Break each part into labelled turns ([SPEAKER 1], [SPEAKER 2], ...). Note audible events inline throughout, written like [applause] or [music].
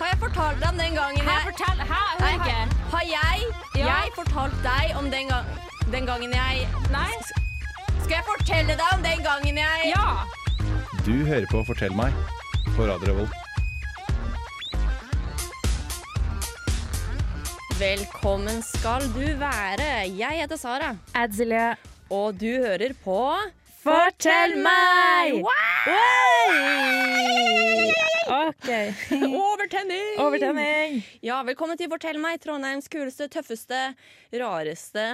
[SPEAKER 1] Adrian, den gangen
[SPEAKER 2] Hæ,
[SPEAKER 1] jeg
[SPEAKER 2] fortell! Hæ, jeg hører
[SPEAKER 1] Nei,
[SPEAKER 2] ikke.
[SPEAKER 1] Har jeg,
[SPEAKER 2] Ja.
[SPEAKER 1] jeg fortalt deg om den, gang, den gangen jeg
[SPEAKER 2] Nei?
[SPEAKER 1] Skal jeg fortelle deg om den gangen jeg
[SPEAKER 2] Ja!
[SPEAKER 3] Du hører på Fortell meg på Radio Revolt.
[SPEAKER 1] Velkommen skal du være. Jeg heter Sara,
[SPEAKER 4] Adzelie.
[SPEAKER 1] og du hører på
[SPEAKER 4] Fortell meg!
[SPEAKER 1] Wow!
[SPEAKER 4] OK.
[SPEAKER 1] Overtenning!
[SPEAKER 4] Overtenning.
[SPEAKER 1] Ja, velkommen til Fortell meg, Trondheims kuleste, tøffeste, rareste,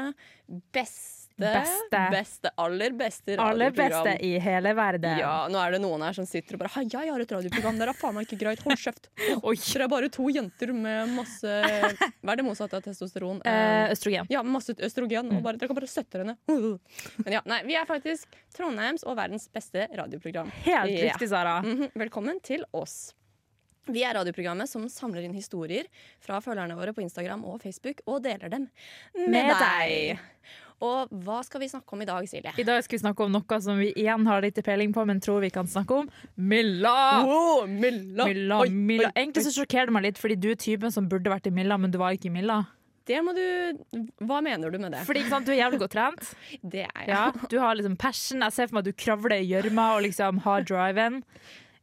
[SPEAKER 1] beste
[SPEAKER 4] Beste.
[SPEAKER 1] beste aller beste
[SPEAKER 4] Aller
[SPEAKER 1] radioprogram.
[SPEAKER 4] beste i hele verden.
[SPEAKER 1] Ja, nå er det noen her som sitter og bare Hei, jeg har et radioprogram, dere er faen meg ikke greit, hold kjeft.
[SPEAKER 4] [laughs] Oi.
[SPEAKER 1] Dere er bare to jenter med masse Hva er det motsatte av testosteron?
[SPEAKER 4] [laughs] Eh, Mm. østrogen.
[SPEAKER 1] ja, masse østrogen. Og bare, dere kan bare støtte
[SPEAKER 4] [laughs]
[SPEAKER 1] henne. Men ja, nei, vi er faktisk Trondheims og verdens beste radioprogram.
[SPEAKER 4] Helt
[SPEAKER 1] Ja.
[SPEAKER 4] riktig, Sara.
[SPEAKER 1] Mhm, Velkommen til oss. Vi er radioprogrammet som samler inn historier fra følgerne våre på Instagram og Facebook og deler dem med,
[SPEAKER 4] Med
[SPEAKER 1] deg. Og hva skal vi snakke om i dag, Silje?
[SPEAKER 4] I dag skal vi snakke om noe som vi igjen har litt peiling på, men tror vi kan snakke om. Milla!
[SPEAKER 1] Oh, Milla.
[SPEAKER 4] Milla,
[SPEAKER 1] Oi,
[SPEAKER 4] Milla.
[SPEAKER 1] oi,
[SPEAKER 4] Egentlig så sjokkerer det meg litt, fordi du er typen som burde vært i Milla, men du var ikke i Milla.
[SPEAKER 1] Det må du Hva mener du med det?
[SPEAKER 4] Fordi ikke sant, du er jævlig godt
[SPEAKER 1] [laughs]
[SPEAKER 4] trent.
[SPEAKER 1] Det er jeg.
[SPEAKER 4] Ja, du har liksom passion. Jeg ser for meg at du kravler i gjørma og liksom har driven.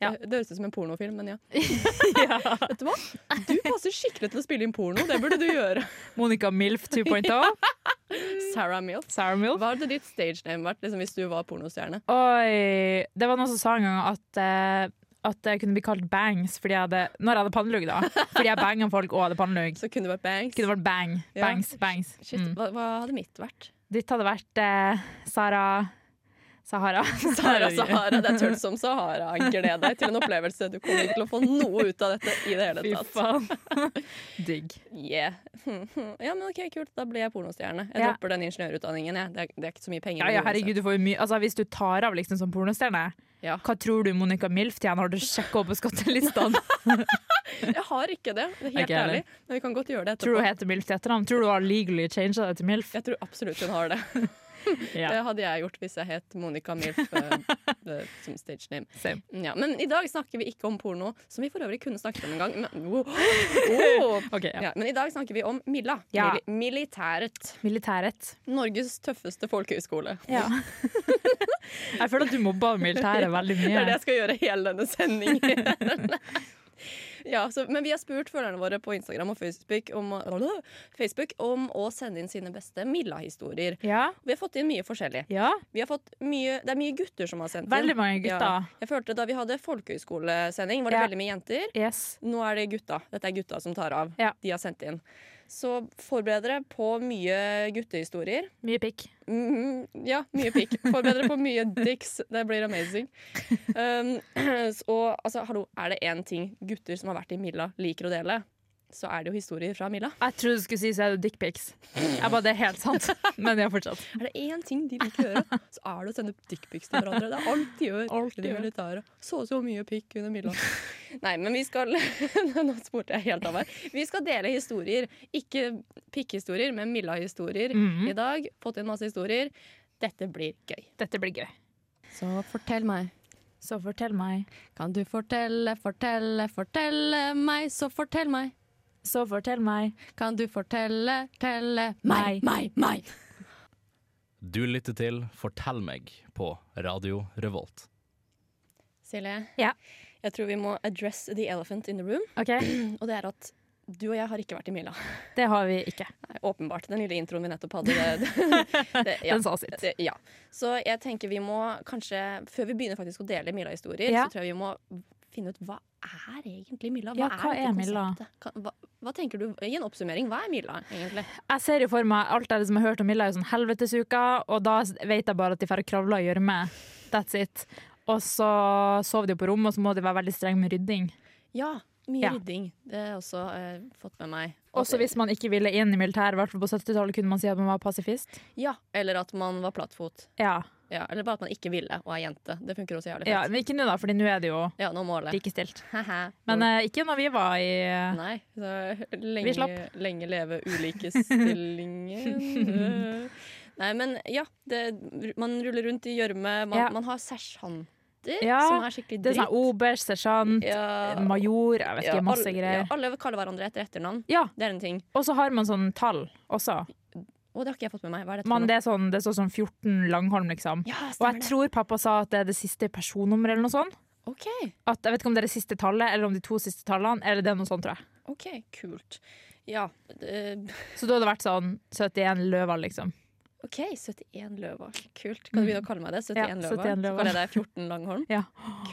[SPEAKER 4] ja.
[SPEAKER 1] Det høres ut som en pornofilm, men
[SPEAKER 4] [laughs]
[SPEAKER 1] ja. Vet du hva? Du passer skikkelig til å spille inn porno. Det burde du gjøre.
[SPEAKER 4] Monica Milf 2.0.
[SPEAKER 1] Sarah Mills.
[SPEAKER 4] Sarah Milf.
[SPEAKER 1] Hva hadde ditt stage name vært liksom, hvis du var pornostjerne?
[SPEAKER 4] Oi, det var noen som sa en gang at, eh, at jeg kunne bli kalt bangs fordi jeg hadde, når jeg hadde pannelugg. da. Fordi jeg banga folk og hadde pannelugg.
[SPEAKER 1] Så kunne det vært Banks.
[SPEAKER 4] Kunne vært bang,
[SPEAKER 1] Ja.
[SPEAKER 4] bangs, bangs.
[SPEAKER 1] Shit,
[SPEAKER 4] Mm.
[SPEAKER 1] hva, hva hadde mitt vært?
[SPEAKER 4] Ditt hadde vært eh, Sara
[SPEAKER 1] [laughs]
[SPEAKER 4] Sahara.
[SPEAKER 1] Sahara, Sahara. Det er tørt som Sahara. Gled deg til en opplevelse. Du kommer ikke til å få noe ut av dette i det hele
[SPEAKER 4] Fy
[SPEAKER 1] tatt.
[SPEAKER 4] faen.
[SPEAKER 1] [laughs]
[SPEAKER 4] Digg.
[SPEAKER 1] Yeah. [laughs] Ja, men ok, kult. Da blir jeg pornostjerne. Jeg
[SPEAKER 4] Ja.
[SPEAKER 1] dropper den ingeniørutdanningen, jeg. Det er, det er ikke så mye penger.
[SPEAKER 4] Ja,
[SPEAKER 1] i
[SPEAKER 4] ja,
[SPEAKER 1] det
[SPEAKER 4] herregud, du får jo mye Altså, Hvis du tar av liksom som pornostjerne,
[SPEAKER 1] Ja.
[SPEAKER 4] hva tror du Monica Milf tjener? Har du sjekka opp på
[SPEAKER 1] [laughs]
[SPEAKER 4] skattelistene?
[SPEAKER 1] uansett. Jeg har ikke det. det er helt
[SPEAKER 4] Ikke heller.
[SPEAKER 1] ærlig. Men vi kan godt gjøre det
[SPEAKER 4] Tror du
[SPEAKER 1] etterpå.
[SPEAKER 4] hun heter Milf til etternavn? Tror du hun har legally changa deg til Milf?
[SPEAKER 1] Jeg tror absolutt hun har det. Det
[SPEAKER 4] Ja.
[SPEAKER 1] hadde jeg gjort hvis jeg het Monica
[SPEAKER 4] [laughs]
[SPEAKER 1] Milf eh, det, som stage name.
[SPEAKER 4] Same.
[SPEAKER 1] Ja, men i dag snakker vi ikke om porno, som vi for øvrig kunne snakket om en gang. Men, [gasps] wow. Wow.
[SPEAKER 4] [laughs] Ok, ja.
[SPEAKER 1] Ja, men i dag snakker vi om Milla.
[SPEAKER 4] Ja.
[SPEAKER 1] Mili militæret.
[SPEAKER 4] Militærrett.
[SPEAKER 1] Norges tøffeste folkehøyskole.
[SPEAKER 4] Ja. [laughs] jeg føler at du mobba militæret veldig
[SPEAKER 1] Det
[SPEAKER 4] mye.
[SPEAKER 1] er det jeg skal gjøre hele denne sendingen. [laughs] Ja, så, men vi har spurt følgerne våre på Instagram og Facebook om, å- Facebook om å sende inn sine beste Milla-historier.
[SPEAKER 4] Ja.
[SPEAKER 1] Vi har fått inn mye forskjellig.
[SPEAKER 4] ja.
[SPEAKER 1] Vi har fått mye, det er mye gutter som har sendt
[SPEAKER 4] Veldig mange gutter.
[SPEAKER 1] Ja. Jeg følte Da vi hadde folkehøyskolesending, var det
[SPEAKER 4] Ja.
[SPEAKER 1] veldig mye jenter.
[SPEAKER 4] Yes.
[SPEAKER 1] Nå er det gutta. Dette er gutta som tar av.
[SPEAKER 4] Ja.
[SPEAKER 1] De har sendt inn. Så forbered dere på mye guttehistorier.
[SPEAKER 4] Mye pikk.
[SPEAKER 1] Mm, ja, mye pikk. Forbered dere på mye dicks. Det blir amazing. Um, [clears throat] s- og altså, hallo, er det én ting gutter som har vært i Milla, liker å dele, så er det jo historier fra Milla.
[SPEAKER 4] Jeg trodde du skulle si så er det dickpics. Jeg bare, det er helt [laughs] sant. Men ja, fortsatt.
[SPEAKER 1] Er det én ting de liker å gjøre, så er det å sende dickpics til hverandre. Det er alt de gjør.
[SPEAKER 4] Alt de
[SPEAKER 1] de
[SPEAKER 4] gjør.
[SPEAKER 1] militære. Så så mye pikk under Milla. Nei, men vi skal [laughs] Nå spurte jeg helt av her. Vi skal dele historier. Ikke pikkhistorier, men Milla-historier
[SPEAKER 4] Mhm.
[SPEAKER 1] i dag. Fått inn masse historier. Dette blir gøy.
[SPEAKER 4] Dette blir gøy.
[SPEAKER 1] Så fortell meg.
[SPEAKER 4] Så fortell meg.
[SPEAKER 1] Kan du fortelle, fortelle, fortelle meg, så fortell meg.
[SPEAKER 4] Så fortell meg.
[SPEAKER 1] Kan du fortelle, telle
[SPEAKER 4] meg,
[SPEAKER 1] meg, meg.
[SPEAKER 5] Du lytter til Fortell meg på Radio Revolt.
[SPEAKER 1] Silje,
[SPEAKER 4] Ja.
[SPEAKER 1] jeg tror vi må address the elephant in the room.
[SPEAKER 4] OK,
[SPEAKER 1] Og det er at du og jeg har ikke vært i Mila.
[SPEAKER 4] det har vi ikke.
[SPEAKER 1] Nei, åpenbart. Den lille introen vi nettopp hadde. Det,
[SPEAKER 4] [laughs]
[SPEAKER 1] det, ja.
[SPEAKER 4] Den sa sitt.
[SPEAKER 1] Det, ja. Så jeg tenker vi må kanskje, før vi begynner faktisk å dele Mila-historier,
[SPEAKER 4] Ja.
[SPEAKER 1] så tror jeg vi må finne ut hva er egentlig Mila? Hva
[SPEAKER 4] Ja, hva
[SPEAKER 1] dette
[SPEAKER 4] er Mila?
[SPEAKER 1] konseptet? Kan, hva, hva tenker du, I en oppsummering, hva er Mila egentlig?
[SPEAKER 4] Jeg ser jo for meg alt det som jeg har hørt om Milla, er jo sånn helvetesuka, og da vet jeg bare at de får kravle og gjørme. That's it. Og så sover de på rom, og så må de være veldig strenge med rydding.
[SPEAKER 1] Ja, mye
[SPEAKER 4] Ja.
[SPEAKER 1] ridding. Det har jeg også eh, fått med meg.
[SPEAKER 4] Også hvis man ikke ville inn i militæret, i hvert fall på 70-tallet, kunne man si at man var pasifist.
[SPEAKER 1] Ja, Eller at man var plattfot.
[SPEAKER 4] Ja,
[SPEAKER 1] Ja, eller bare at man ikke ville og er jente. Det funker også jævlig
[SPEAKER 4] ja
[SPEAKER 1] fett.
[SPEAKER 4] men ikke nå, da, fordi nå er det jo
[SPEAKER 1] Ja, nå måler jeg.
[SPEAKER 4] likestilt.
[SPEAKER 1] Haha.
[SPEAKER 4] Men eh, ikke når vi var i eh,
[SPEAKER 1] Nei. Så lenge,
[SPEAKER 4] Vi slapp.
[SPEAKER 1] lenge
[SPEAKER 4] [laughs]
[SPEAKER 1] leve ulikestillingen. Øh. Nei, men ja. Det, man ruller rundt i gjørme. Man,
[SPEAKER 4] Ja.
[SPEAKER 1] man har sersjant. jenter
[SPEAKER 4] Ja,
[SPEAKER 1] som er skikkelig
[SPEAKER 4] Det er sånn
[SPEAKER 1] dritt.
[SPEAKER 4] oberst, sersjant,
[SPEAKER 1] ja,
[SPEAKER 4] major, jeg vet
[SPEAKER 1] ja,
[SPEAKER 4] ikke, masse
[SPEAKER 1] alle-
[SPEAKER 4] greier.
[SPEAKER 1] Ja, alle kaller hverandre etter etternavn.
[SPEAKER 4] Ja,
[SPEAKER 1] Det er en ting.
[SPEAKER 4] og så har man sånn tall også.
[SPEAKER 1] Å, det har ikke jeg fått med meg. Hva er dette for
[SPEAKER 4] Man,
[SPEAKER 1] noe?
[SPEAKER 4] det, er sånn, det står sånn 14 Langholm, liksom.
[SPEAKER 1] Ja,
[SPEAKER 4] Og
[SPEAKER 1] stemmer
[SPEAKER 4] jeg
[SPEAKER 1] det.
[SPEAKER 4] tror pappa sa at det er det siste personnummeret eller noe sånt.
[SPEAKER 1] OK,
[SPEAKER 4] At, jeg vet ikke om det er det siste tallet, eller om de to siste tallene, eller det er noe sånt, tror jeg.
[SPEAKER 1] ok, kult. Ja. eh,
[SPEAKER 4] Så da hadde det vært sånn 71 løver, liksom.
[SPEAKER 1] OK, 71 løver. Kult. Kan du begynne å kalle meg det? 71
[SPEAKER 4] Mm. Ja,
[SPEAKER 1] løver.
[SPEAKER 4] 71
[SPEAKER 1] Så
[SPEAKER 4] løver.
[SPEAKER 1] kaller jeg deg 14 Langholm.
[SPEAKER 4] Ja.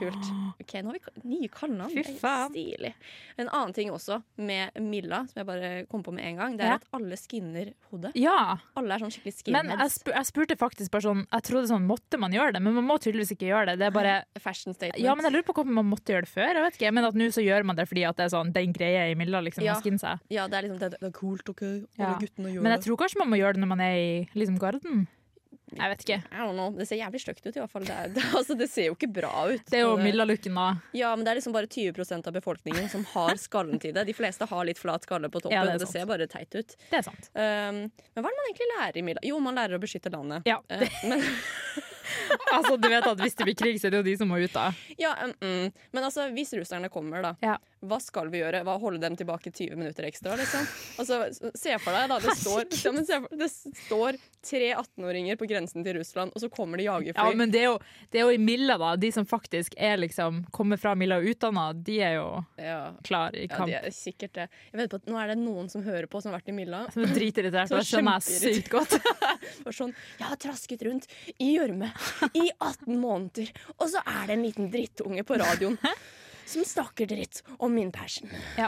[SPEAKER 1] Kult. Ok, Nå har vi ka- nye kallenavn.
[SPEAKER 4] Fy
[SPEAKER 1] Det er
[SPEAKER 4] faen.
[SPEAKER 1] Stilig. En annen ting også med Milla, som jeg bare kom på med en gang, det er
[SPEAKER 4] Ja.
[SPEAKER 1] at alle skinner hodet.
[SPEAKER 4] Ja,
[SPEAKER 1] Alle er sånn skikkelig
[SPEAKER 4] men jeg,
[SPEAKER 1] skinheads.
[SPEAKER 4] spu- jeg spurte faktisk bare sånn Jeg trodde sånn, måtte man gjøre det? Men man må tydeligvis ikke gjøre det. Det er bare
[SPEAKER 1] Fashion statement.
[SPEAKER 4] Ja, men jeg lurer på hvorfor man måtte gjøre det før. Jeg vet ikke, Men at nå så gjør man det fordi at det er sånn den greia i Milla, liksom.
[SPEAKER 1] Ja.
[SPEAKER 4] å skinne seg.
[SPEAKER 1] Ja, det er liksom det, det er kult, OK? Alle
[SPEAKER 4] Ja.
[SPEAKER 1] guttene gjør
[SPEAKER 4] Men jeg
[SPEAKER 1] det.
[SPEAKER 4] tror kanskje man må gjøre det når man er i liksom garden. Jeg vet ikke.
[SPEAKER 1] I don't know. Det ser jævlig stygt ut, i hvert fall. Det, er, [laughs] det, altså, det ser jo ikke bra ut.
[SPEAKER 4] Det er jo
[SPEAKER 1] Og
[SPEAKER 4] Milla-looken, da.
[SPEAKER 1] Ja, men det er liksom bare 20 av befolkningen som har skallen til det. De fleste har litt flat skalle på toppen,
[SPEAKER 4] Ja, det er
[SPEAKER 1] og det
[SPEAKER 4] sant.
[SPEAKER 1] ser bare teit ut.
[SPEAKER 4] Det er sant.
[SPEAKER 1] Um, men hva er det man egentlig lærer i Milla? Jo, man lærer å beskytte landet.
[SPEAKER 4] Ja.
[SPEAKER 1] Eh, men,
[SPEAKER 4] [laughs] Altså, du vet at hvis det blir krig, så er det jo de som må ut, da.
[SPEAKER 1] ja, mm, mm. men altså, hvis russerne kommer, da,
[SPEAKER 4] Ja.
[SPEAKER 1] hva skal vi gjøre? Hva Holde dem tilbake 20 minutter ekstra? Liksom? Altså, s- se for deg, da. Det står, ja, men se for, det s- står tre 18-åringer på grensen til Russland, og så kommer det
[SPEAKER 4] Ja,
[SPEAKER 1] jagerfly.
[SPEAKER 4] men det er, jo, det er jo i Milla, da. De som faktisk er liksom kommer fra Milla og utdanna, de er jo
[SPEAKER 1] Ja.
[SPEAKER 4] klar i
[SPEAKER 1] Ja,
[SPEAKER 4] kamp.
[SPEAKER 1] det er sikkert det. Jeg vet på at Nå er det noen som hører på, som har vært i Milla.
[SPEAKER 4] Som er dritirritert,
[SPEAKER 1] Så
[SPEAKER 4] og det skjønner jeg sykt godt.
[SPEAKER 1] Og sånn, jeg har trasket rundt i gjørme i 18 måneder, og så er det en liten drittunge på
[SPEAKER 4] [laughs]
[SPEAKER 1] radioen som snakker dritt om min passion.
[SPEAKER 4] Ja.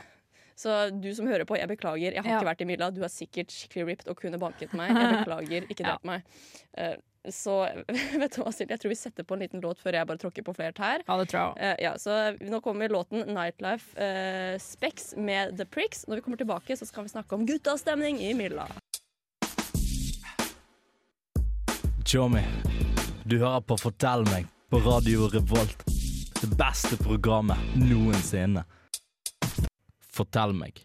[SPEAKER 1] Så du som hører på, jeg beklager. Jeg har
[SPEAKER 4] Ja.
[SPEAKER 1] ikke vært i Milla. Du er sikkert skikkelig ripped og kunne banket
[SPEAKER 4] [laughs]
[SPEAKER 1] meg. Jeg beklager. Ikke
[SPEAKER 4] Ja.
[SPEAKER 1] drep meg. Eh, så [laughs] vet du hva, Silje, jeg tror vi setter på en liten låt før jeg bare tråkker på flere tær.
[SPEAKER 4] Ja, det tror jeg òg.
[SPEAKER 1] Eh, ja, så nå kommer låten 'Nightlife eh, Specs' med The Pricks. Når vi kommer tilbake, så skal vi snakke om guttastemning i Milla.
[SPEAKER 5] Tjommi, du hører på Fortell meg på Radio Revolt. Det beste programmet noensinne. Fortell meg.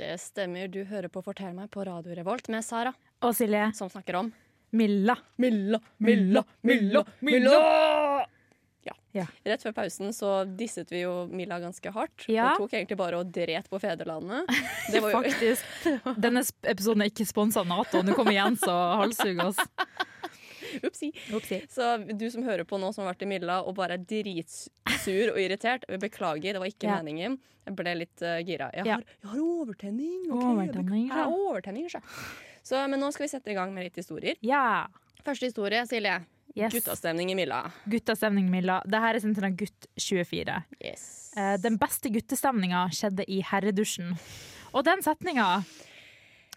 [SPEAKER 1] Det stemmer. Du hører på Fortell meg på Radio Revolt med Sara,
[SPEAKER 4] Og Silje.
[SPEAKER 1] som snakker om
[SPEAKER 4] Milla.
[SPEAKER 1] Milla, Milla, Milla, Milla! Ja.
[SPEAKER 4] Ja.
[SPEAKER 1] Rett før pausen så disset vi jo Milla ganske hardt.
[SPEAKER 4] Ja.
[SPEAKER 1] Og tok egentlig bare og dret på [laughs] fedrelandet. Det var jo
[SPEAKER 4] Faktisk. Denne sp- episoden er ikke sponsa av Nato. Nå kommer Jens og halshugger oss.
[SPEAKER 1] Upsi. Så du som hører på nå, som har vært i Milla og bare er dritsur og irritert, jeg beklager, det var ikke
[SPEAKER 4] Ja.
[SPEAKER 1] meningen. Jeg ble litt eh, gira. Jeg
[SPEAKER 4] Ja.
[SPEAKER 1] har, jeg har overtenning! ok,
[SPEAKER 4] Overtenning,
[SPEAKER 1] jeg, bek- jeg har
[SPEAKER 4] ja.
[SPEAKER 1] overtenning så. Så, men nå skal vi sette i gang med litt historier.
[SPEAKER 4] Ja.
[SPEAKER 1] Første historie, Silje.
[SPEAKER 4] Yes.
[SPEAKER 1] Guttastemning i Milla.
[SPEAKER 4] Guttastemning, Milla. Dette er sendt inn av Gutt 24.
[SPEAKER 1] Yes.
[SPEAKER 4] Eh, Den beste guttestemninga skjedde i herredusjen. Og den setninga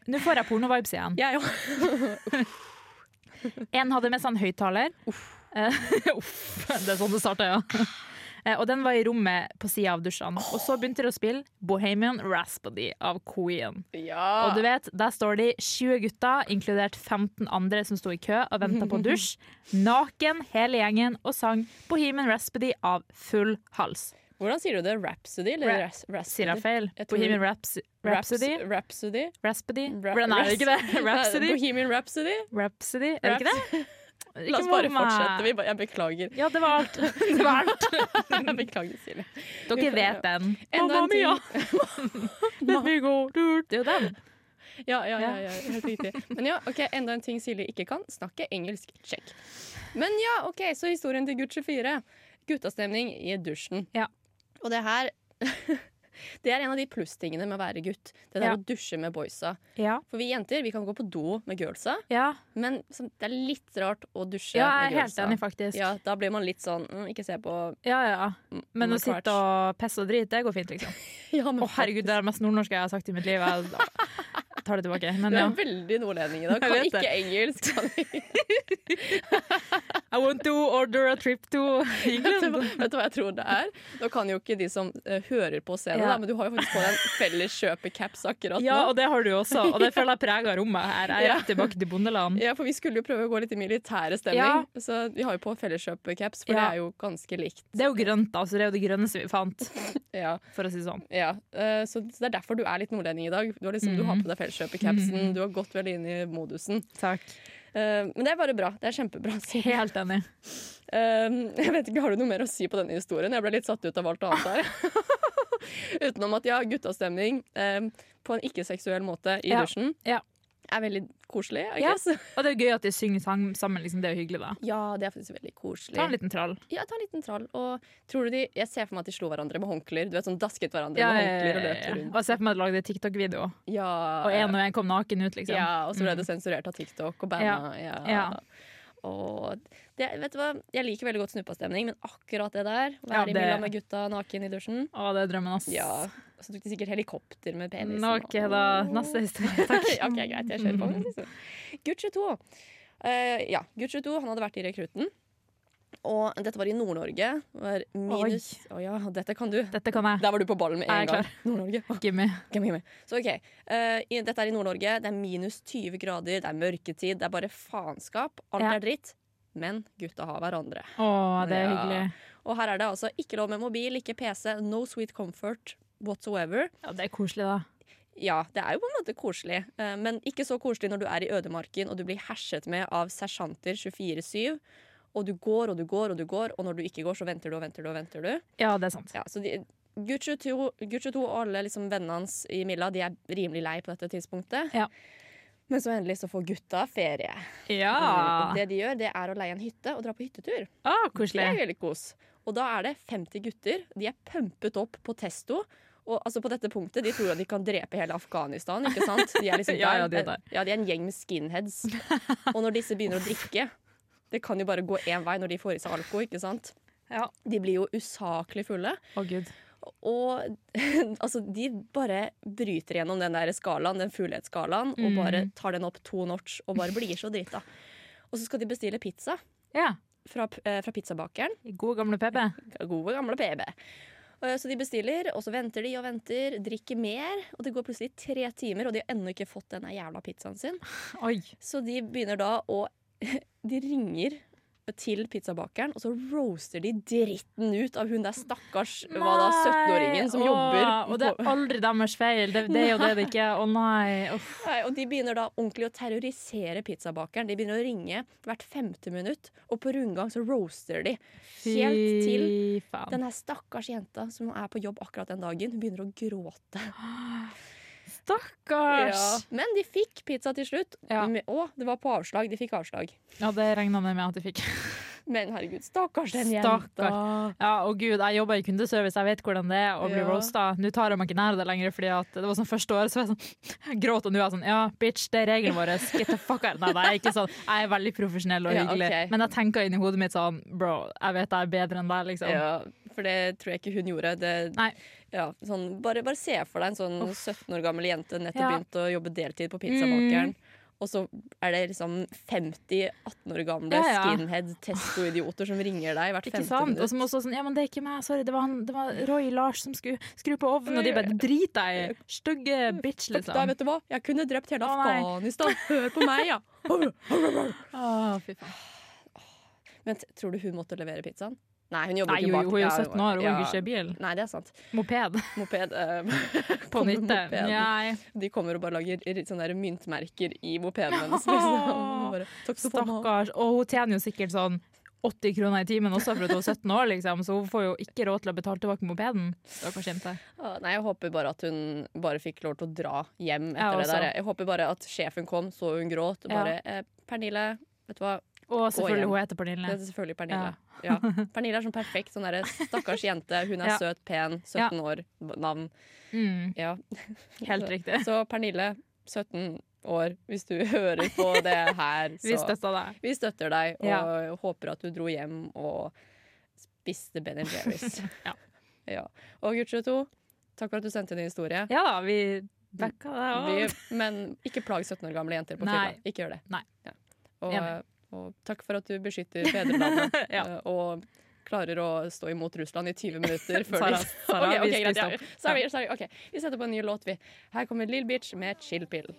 [SPEAKER 4] Nå får jeg pornovibes igjen.
[SPEAKER 1] Jeg òg.
[SPEAKER 4] En hadde med seg en høyttaler. Eh, [laughs] Uff. Det er sånn det starta, ja. Eh, Og den var i rommet på sida av dusjene. Og så begynte de å spille Bohemian Rhapsody av Queen.
[SPEAKER 1] Ja.
[SPEAKER 4] Og du vet, der står de 20 gutter, inkludert 15 andre som sto i kø og venta
[SPEAKER 1] [laughs]
[SPEAKER 4] på dusj. Naken, hele gjengen, og sang Bohemian Rhapsody av full hals.
[SPEAKER 1] Hvordan sier du det? Rhapsody? Eller
[SPEAKER 4] Ra-
[SPEAKER 1] ras- raspody?
[SPEAKER 4] Sier jeg feil?
[SPEAKER 1] Jeg tror-
[SPEAKER 4] Bohemian Raps Rhapsody?
[SPEAKER 1] Raps- Rhapsody?
[SPEAKER 4] Rhapsody?
[SPEAKER 1] Ra-
[SPEAKER 4] Hvordan er det ikke det? [laughs]
[SPEAKER 1] ras-
[SPEAKER 4] Rhapsody?
[SPEAKER 1] Bohemian Rhapsody?
[SPEAKER 4] Rhapsody? Er det ikke det?
[SPEAKER 1] La oss
[SPEAKER 4] Ikke
[SPEAKER 1] bare
[SPEAKER 4] mobb meg.
[SPEAKER 1] fortsette. Vi bare, jeg
[SPEAKER 4] [laughs]
[SPEAKER 1] beklager.
[SPEAKER 4] Ja, det var alt. Det var alt.
[SPEAKER 1] Jeg beklager, Silje.
[SPEAKER 4] [laughs] Dere vet den.
[SPEAKER 1] Enda en ting.
[SPEAKER 4] [laughs] let me go. Det er jo den.
[SPEAKER 1] Ja, ja, ja,
[SPEAKER 4] Ja.
[SPEAKER 1] ja, helt riktig. Men ja, ok, Enda en ting Silje ikke kan. Snakke engelsk. Check. Men ja, ok, så historien til gutt 24. Guttastemning i dusjen.
[SPEAKER 4] Ja.
[SPEAKER 1] Og det her [laughs] Det er en av de plusstingene med å være gutt. Det der
[SPEAKER 4] Ja.
[SPEAKER 1] å dusje med boysa.
[SPEAKER 4] Ja.
[SPEAKER 1] For vi jenter vi kan gå på do med girlsa,
[SPEAKER 4] ja.
[SPEAKER 1] men som- det er litt rart å dusje
[SPEAKER 4] Ja, jeg
[SPEAKER 1] med
[SPEAKER 4] er helt
[SPEAKER 1] girlsa.
[SPEAKER 4] enig, faktisk.
[SPEAKER 1] Ja, da blir man litt sånn mm, Ikke se på
[SPEAKER 4] Ja, ja. Men
[SPEAKER 1] Mark
[SPEAKER 4] å
[SPEAKER 1] Arch.
[SPEAKER 4] sitte og pisse og drite, det går fint, liksom.
[SPEAKER 1] Ja, men
[SPEAKER 4] Å, herregud, det er det mest nordnorske jeg har sagt i mitt liv. Jeg tar det tilbake.
[SPEAKER 1] Du
[SPEAKER 4] Men ja.
[SPEAKER 1] er veldig nordlending i dag.
[SPEAKER 4] [laughs] Jeg
[SPEAKER 1] Kan
[SPEAKER 4] vet
[SPEAKER 1] ikke
[SPEAKER 4] det.
[SPEAKER 1] engelsk. Kan ikke.
[SPEAKER 4] [laughs] I want to order a trip [laughs] to
[SPEAKER 1] Vet du hva-
[SPEAKER 4] England.
[SPEAKER 1] vet du hva jeg tror det er? Nå kan jo ikke de som eh, hører på se det,
[SPEAKER 4] Ja.
[SPEAKER 1] da, men du har jo faktisk på deg
[SPEAKER 4] [laughs]
[SPEAKER 1] en felles kjøpecaps akkurat
[SPEAKER 4] Ja,
[SPEAKER 1] nå.
[SPEAKER 4] og det har du også, og det føler jeg preger rommet her. Jeg er rett tilbake til bondeland.
[SPEAKER 1] Ja, for vi skulle jo prøve å gå litt i militære
[SPEAKER 4] Ja.
[SPEAKER 1] stemning, så vi har jo på felleskjøpecaps, for
[SPEAKER 4] Ja.
[SPEAKER 1] det er jo ganske likt.
[SPEAKER 4] Det er jo grønt, da, så det er jo det grønneste vi fant,
[SPEAKER 1] Ja,
[SPEAKER 4] for å si det sånn.
[SPEAKER 1] ja. Eh, Så så det er derfor du
[SPEAKER 4] Mm.
[SPEAKER 1] er litt nordlending i dag. Du har, liksom, du har på deg felleskjøpecapsen, du har gått veldig inn i modusen.
[SPEAKER 4] Takk.
[SPEAKER 1] Eh, Eh, men det er bare bra. Det er kjempebra. Signe.
[SPEAKER 4] Helt enig.
[SPEAKER 1] Ehm, [laughs] jeg vet ikke, Har du noe mer å si på denne historien? Jeg ble litt satt ut av alt annet her. [laughs] Utenom at ja, guttastemning ehm, på en ikke-seksuell måte i
[SPEAKER 4] Ja,
[SPEAKER 1] dusjen
[SPEAKER 4] ja.
[SPEAKER 1] er veldig koselig. I
[SPEAKER 4] Ja.
[SPEAKER 1] guess. [laughs]
[SPEAKER 4] Og det er gøy at de synger sang sammen. Liksom. Det er jo hyggelig, da.
[SPEAKER 1] ja, det er faktisk veldig koselig.
[SPEAKER 4] Ta en liten trall.
[SPEAKER 1] Ja, ta en liten trall. Og tror du de, Jeg ser for meg at de slo hverandre med håndklær. Du vet, sånn Dasket hverandre
[SPEAKER 4] Ja,
[SPEAKER 1] med
[SPEAKER 4] ja, ja,
[SPEAKER 1] håndklær og
[SPEAKER 4] ja,
[SPEAKER 1] løp
[SPEAKER 4] ja.
[SPEAKER 1] rundt.
[SPEAKER 4] Og se for meg at de lagde TikTok-video,
[SPEAKER 1] Ja,
[SPEAKER 4] og en og en kom naken ut, liksom.
[SPEAKER 1] ja, og så ble det sensurert av TikTok og banna. Ja.
[SPEAKER 4] Ja.
[SPEAKER 1] Og det, vet du hva? Jeg liker veldig godt snuppastemning, men akkurat det der, være
[SPEAKER 4] Ja,
[SPEAKER 1] i
[SPEAKER 4] det-
[SPEAKER 1] Milla med gutta naken i dusjen
[SPEAKER 4] Å, det er drømmen, ass.
[SPEAKER 1] Ja. Så tok de sikkert helikopter med penisen.
[SPEAKER 4] Nå, ok, eh, da. Neste
[SPEAKER 1] [laughs]
[SPEAKER 4] historie. [laughs] Takk. Mm.
[SPEAKER 1] ok, greit. Jeg kjører på. med siste. Gutt 22. Eh, ja, gutt 22 han hadde vært i Rekrutten. Og dette var i Nord-Norge. Det var Minus Å ja, dette kan du.
[SPEAKER 4] Dette kan jeg.
[SPEAKER 1] Der var du på ballen med
[SPEAKER 4] Jeg er
[SPEAKER 1] en gang.
[SPEAKER 4] klar.
[SPEAKER 1] [laughs] Nord-Norge. Åh,
[SPEAKER 4] Gimme.
[SPEAKER 1] kom igjen, kom igjen. Så ok, eh, i- Dette er i Nord-Norge. Det er minus 20 grader, det er mørketid, det er bare faenskap. Alt
[SPEAKER 4] Ja.
[SPEAKER 1] er dritt. Men gutta har hverandre.
[SPEAKER 4] Å, det er
[SPEAKER 1] Ja.
[SPEAKER 4] hyggelig.
[SPEAKER 1] Og her er det altså ikke lov med mobil, ikke PC, no sweet comfort whatsoever.
[SPEAKER 4] Ja, det er koselig, da.
[SPEAKER 1] Ja, det er jo på en måte koselig, eh, men ikke så koselig når du er i ødemarken og du blir herset med av sersjanter 24-7. Og du går og du går og du går, og når du ikke går, så venter du og venter du. og venter du.
[SPEAKER 4] Ja, det er sant.
[SPEAKER 1] Ja, så de, Gutt 22, Gutt 22 og alle liksom vennene hans i Milla de er rimelig lei på dette tidspunktet.
[SPEAKER 4] Ja.
[SPEAKER 1] Men så endelig så får gutta ferie.
[SPEAKER 4] Ja!
[SPEAKER 1] Og Det de gjør, det er å leie en hytte og dra på hyttetur.
[SPEAKER 4] Å,
[SPEAKER 1] Det
[SPEAKER 4] koselig.
[SPEAKER 1] er veldig kos. Og da er det 50 gutter. De er pumpet opp på testo. Og altså på dette punktet, De tror at de kan drepe hele Afghanistan. ikke sant? De er liksom der.
[SPEAKER 4] [laughs] Ja, ja, de er der.
[SPEAKER 1] Ja, de er en gjeng med skinheads. Og når disse begynner å drikke Det kan jo bare gå én vei når de får i seg alko. ikke sant?
[SPEAKER 4] Ja.
[SPEAKER 1] De blir jo usaklig fulle.
[SPEAKER 4] Å, gud.
[SPEAKER 1] Og [laughs] altså, de bare bryter gjennom den der skalaen, den fullhetsskalaen,
[SPEAKER 4] Mm.
[SPEAKER 1] og bare tar den opp to notch og bare blir så drita. Og så skal de bestille pizza
[SPEAKER 4] Ja.
[SPEAKER 1] fra, eh, fra pizzabakeren.
[SPEAKER 4] God gamle PP.
[SPEAKER 1] Gode, gamle PB. Eh, Så de bestiller, og så venter de og venter, drikker mer. Og det går plutselig tre timer, og de har ennå ikke fått denne jævla pizzaen sin.
[SPEAKER 4] Oi.
[SPEAKER 1] Så de begynner da å [laughs] De ringer til pizzabakeren, og så roaster de dritten ut av hun der stakkars hva da, 17-åringen som
[SPEAKER 4] Nei,
[SPEAKER 1] jobber.
[SPEAKER 4] Å, og det
[SPEAKER 1] på-
[SPEAKER 4] er aldri deres feil. Det, det er jo det det ikke er. Å nei. Uff.
[SPEAKER 1] Nei, og de begynner da ordentlig å terrorisere pizzabakeren. De begynner å ringe hvert femte minutt, og på rundgang så roaster de. Helt til
[SPEAKER 4] Fy faen.
[SPEAKER 1] Den her stakkars jenta som er på jobb akkurat den dagen, hun begynner å gråte.
[SPEAKER 4] Stakkars!
[SPEAKER 1] Ja. Men de fikk pizza til slutt.
[SPEAKER 4] Ja.
[SPEAKER 1] Men- Å, det var på avslag. De fikk avslag.
[SPEAKER 4] Ja, det regna jeg med at jeg fikk. [laughs]
[SPEAKER 1] Men herregud, stakkars den
[SPEAKER 4] Stakkars.
[SPEAKER 1] jenta.
[SPEAKER 4] Ja, og gud, jeg jobber i kundeservice, jeg vet hvordan det er å bli
[SPEAKER 1] Ja.
[SPEAKER 4] roasta. Nå tar jeg meg ikke nær det lenger, fordi at det var sånn første året, så var jeg sånn [laughs] Jeg gråt, og nå er jeg sånn Ja, bitch, det er reglene våre. Get the fuck out. Nei, nei, jeg er ikke sånn. Jeg er veldig profesjonell og
[SPEAKER 1] Ja,
[SPEAKER 4] hyggelig.
[SPEAKER 1] ok.
[SPEAKER 4] Men jeg tenker inni hodet mitt sånn Bro, jeg vet jeg er bedre enn deg, liksom.
[SPEAKER 1] Ja, for det tror jeg ikke hun gjorde. Det,
[SPEAKER 4] Nei.
[SPEAKER 1] Ja, sånn, bare, bare se for deg en sånn 17 år gammel jente nettopp
[SPEAKER 4] Ja. Mm.
[SPEAKER 1] begynt å jobbe deltid på pizzabakeren. Og så er det liksom 50 18 år gamle
[SPEAKER 4] Ja, ja.
[SPEAKER 1] skinhead testo-idioter som ringer deg hvert
[SPEAKER 4] Ikke
[SPEAKER 1] femte
[SPEAKER 4] sant? Og
[SPEAKER 1] minutt.
[SPEAKER 4] som også sånn Ja, men det er ikke meg, sorry. Det var, han, det var Roy Lars som skulle skru på ovnen, og de bare Drit deg i! Stygge bitch,
[SPEAKER 1] Fuck deg,
[SPEAKER 4] liksom.
[SPEAKER 1] vet du hva? Jeg kunne drept hele
[SPEAKER 4] Å, nei.
[SPEAKER 1] Afghanistan! Hør på meg, ja! [laughs]
[SPEAKER 4] sånn. Å, fy faen.
[SPEAKER 1] Men t- tror du hun måtte levere pizzaen? Nei, hun jobber
[SPEAKER 4] Nei,
[SPEAKER 1] ikke
[SPEAKER 4] hun,
[SPEAKER 1] bak.
[SPEAKER 4] hun er jo
[SPEAKER 1] Ja,
[SPEAKER 4] 17 år, hun
[SPEAKER 1] ja.
[SPEAKER 4] orker ikke bil.
[SPEAKER 1] Nei, det er sant.
[SPEAKER 4] Moped.
[SPEAKER 1] Moped. eh, [laughs]
[SPEAKER 4] På
[SPEAKER 1] kommer
[SPEAKER 4] nytte.
[SPEAKER 1] moped.
[SPEAKER 4] Nei.
[SPEAKER 1] De kommer og bare lager r- sånne der myntmerker i mopeden hennes.
[SPEAKER 4] [laughs] Åh,
[SPEAKER 1] Liksom. Bare, Takk skal du ha.
[SPEAKER 4] Stakkars. Og hun tjener jo sikkert sånn 80 kroner i timen også for at hun er 17 år, liksom. Så hun får jo ikke råd til å betale tilbake mopeden. Stakkars jente.
[SPEAKER 1] Ah, Nei, jeg håper bare at hun bare fikk lov til å dra hjem
[SPEAKER 4] Ja,
[SPEAKER 1] etter det
[SPEAKER 4] også.
[SPEAKER 1] der. Jeg håper bare at sjefen kom, så hun gråt. Og
[SPEAKER 4] Ja.
[SPEAKER 1] bare eh, 'Pernille', vet du hva?
[SPEAKER 4] Og
[SPEAKER 1] igjen.
[SPEAKER 4] selvfølgelig, hun heter
[SPEAKER 1] Det
[SPEAKER 4] Pernille.
[SPEAKER 1] er selvfølgelig Pernille. Ja.
[SPEAKER 4] [laughs]
[SPEAKER 1] Pernille er sånn perfekt. Sånn derre stakkars jente. Hun er
[SPEAKER 4] Ja.
[SPEAKER 1] søt, pen, 17 år, navn.
[SPEAKER 4] Mm,
[SPEAKER 1] Ja.
[SPEAKER 4] helt riktig.
[SPEAKER 1] Så Pernille, 17 år, hvis du [laughs] hører på det her, så
[SPEAKER 4] Vi støtta deg.
[SPEAKER 1] Vi støtter deg og
[SPEAKER 4] Ja.
[SPEAKER 1] håper at du dro hjem og spiste Ben Jerry's.
[SPEAKER 4] [laughs] Ja.
[SPEAKER 1] Ja. Og gutt 22, takk for at du sendte inn en historie.
[SPEAKER 4] Ja da, vi backa deg
[SPEAKER 1] Vi,
[SPEAKER 4] òg.
[SPEAKER 1] men ikke plag 17 år gamle jenter på
[SPEAKER 4] Nei.
[SPEAKER 1] fylla. Ikke gjør det.
[SPEAKER 4] Nei.
[SPEAKER 1] Ja. Og,
[SPEAKER 4] Enig.
[SPEAKER 1] og takk for at du beskytter fedrelandet
[SPEAKER 4] [laughs] Ja.
[SPEAKER 1] eh, og klarer å stå imot Russland i 20 minutter før
[SPEAKER 4] Sara,
[SPEAKER 1] de [laughs]
[SPEAKER 4] Sara,
[SPEAKER 1] Ok, ok,
[SPEAKER 4] vi
[SPEAKER 1] greit,
[SPEAKER 4] skal
[SPEAKER 1] ja.
[SPEAKER 4] stoppe.
[SPEAKER 1] Sorry, sorry. ok. Vi setter på en ny låt, vi. Her kommer Lill Bitch med Chill Pill.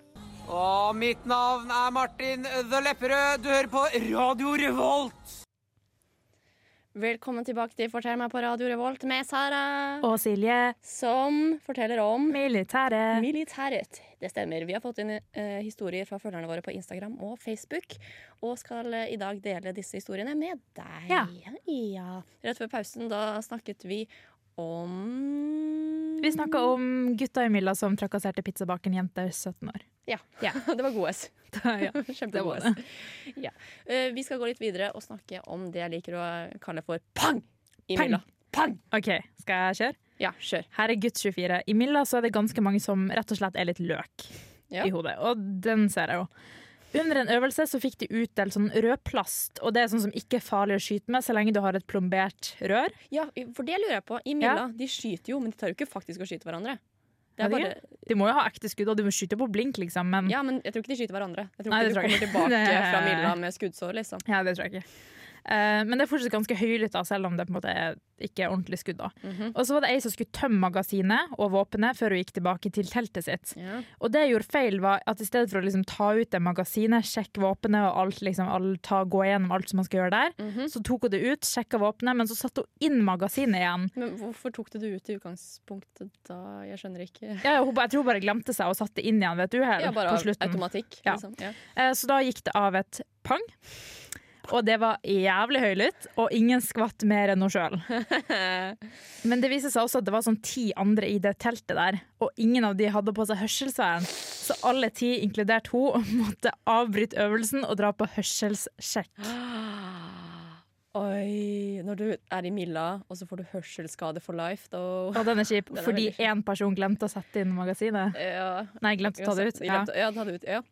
[SPEAKER 2] Og mitt navn er Martin The Lepperød. Du hører på Radio Revolt.
[SPEAKER 1] Velkommen tilbake til Fortell meg på Radio Revolt med Sara,
[SPEAKER 4] Og Silje,
[SPEAKER 1] som forteller om
[SPEAKER 4] militære.
[SPEAKER 1] militæret. Det stemmer. Vi har fått inn eh, historier fra følgerne våre på Instagram og Facebook, og skal eh, i dag dele disse historiene med deg.
[SPEAKER 4] Ja.
[SPEAKER 1] Ja. Rett før pausen da snakket vi om
[SPEAKER 4] Vi snakka om gutta i Milla som trakasserte pizzabakeren jente
[SPEAKER 1] [laughs]
[SPEAKER 4] 17 år.
[SPEAKER 1] Ja. det var god S.
[SPEAKER 4] Ja. det var
[SPEAKER 1] Kjempegod S. Ja. Eh, vi skal gå litt videre og snakke om det jeg liker å kalle for pang i
[SPEAKER 4] Pang.
[SPEAKER 1] mylla. Pang!
[SPEAKER 4] OK, skal jeg kjøre?
[SPEAKER 1] Ja, kjør.
[SPEAKER 4] Her er gutt 24. I Milla så er det ganske mange som rett og slett er litt løk
[SPEAKER 1] Ja.
[SPEAKER 4] i hodet, og den ser jeg jo. Under en øvelse så fikk de utdelt sånn rød plast, og det er sånn som ikke er farlig å skyte med så lenge du har et plombert rør.
[SPEAKER 1] Ja, for det lurer jeg på. I mylla, de skyter jo, men de tar jo ikke faktisk og skyter hverandre. Det er
[SPEAKER 4] Ja, de
[SPEAKER 1] bare,
[SPEAKER 4] De må jo ha ekte skudd, og du må skyte på blink, liksom, men
[SPEAKER 1] ja,
[SPEAKER 4] ja,
[SPEAKER 1] men jeg tror ikke de skyter hverandre. Jeg tror
[SPEAKER 4] Nei,
[SPEAKER 1] ikke
[SPEAKER 4] det
[SPEAKER 1] du
[SPEAKER 4] tror jeg
[SPEAKER 1] kommer
[SPEAKER 4] ikke. [laughs]
[SPEAKER 1] tilbake
[SPEAKER 4] Det-
[SPEAKER 1] fra mylla med skuddsår, liksom.
[SPEAKER 4] det tror jeg ikke. Eh, men det er fortsatt ganske høylytt, da, selv om det på en måte er- ikke er ordentlig skudd. da.
[SPEAKER 1] Mhm.
[SPEAKER 4] Og så var det ei som skulle tømme magasinet og våpenet før hun gikk tilbake til teltet sitt.
[SPEAKER 1] Ja.
[SPEAKER 4] Og det jeg gjorde feil var at i stedet for å liksom ta ut det magasinet, sjekke våpenet og alt, liksom, all, ta, gå gjennom alt som man skal gjøre der,
[SPEAKER 1] Mhm.
[SPEAKER 4] så tok hun det ut, sjekka våpenet, men så satte hun inn magasinet igjen.
[SPEAKER 1] Men hvorfor tok du det ut i utgangspunktet da? Jeg skjønner ikke.
[SPEAKER 4] Ja, hun, ba- jeg tror hun bare glemte seg og satte det inn igjen ved et uhell
[SPEAKER 1] Ja, bare
[SPEAKER 4] på
[SPEAKER 1] av
[SPEAKER 4] slutten.
[SPEAKER 1] automatikk,
[SPEAKER 4] Ja.
[SPEAKER 1] liksom. Ja.
[SPEAKER 4] Eh, Så da gikk det av et pang. Og det var jævlig høylytt, og ingen skvatt mer enn hun sjøl. Men det viser seg også at det var sånn ti andre i det teltet der, og ingen av de hadde på seg hørselsvern. Så alle ti, inkludert hun, [laughs] måtte avbryte øvelsen og dra på hørselssjekk.
[SPEAKER 1] [gasps] Oi. Når du er i mylla, og så får du hørselsskade for life, da [laughs]
[SPEAKER 4] Og den er kjip,
[SPEAKER 1] Den er
[SPEAKER 4] fordi
[SPEAKER 1] veldig kjip.
[SPEAKER 4] én person glemte å sette inn magasinet.
[SPEAKER 1] Ja.
[SPEAKER 4] Nei, glemte å ta det ut.
[SPEAKER 1] Ja,
[SPEAKER 4] Ja.
[SPEAKER 1] glemte- ja, ta det ut. Ja.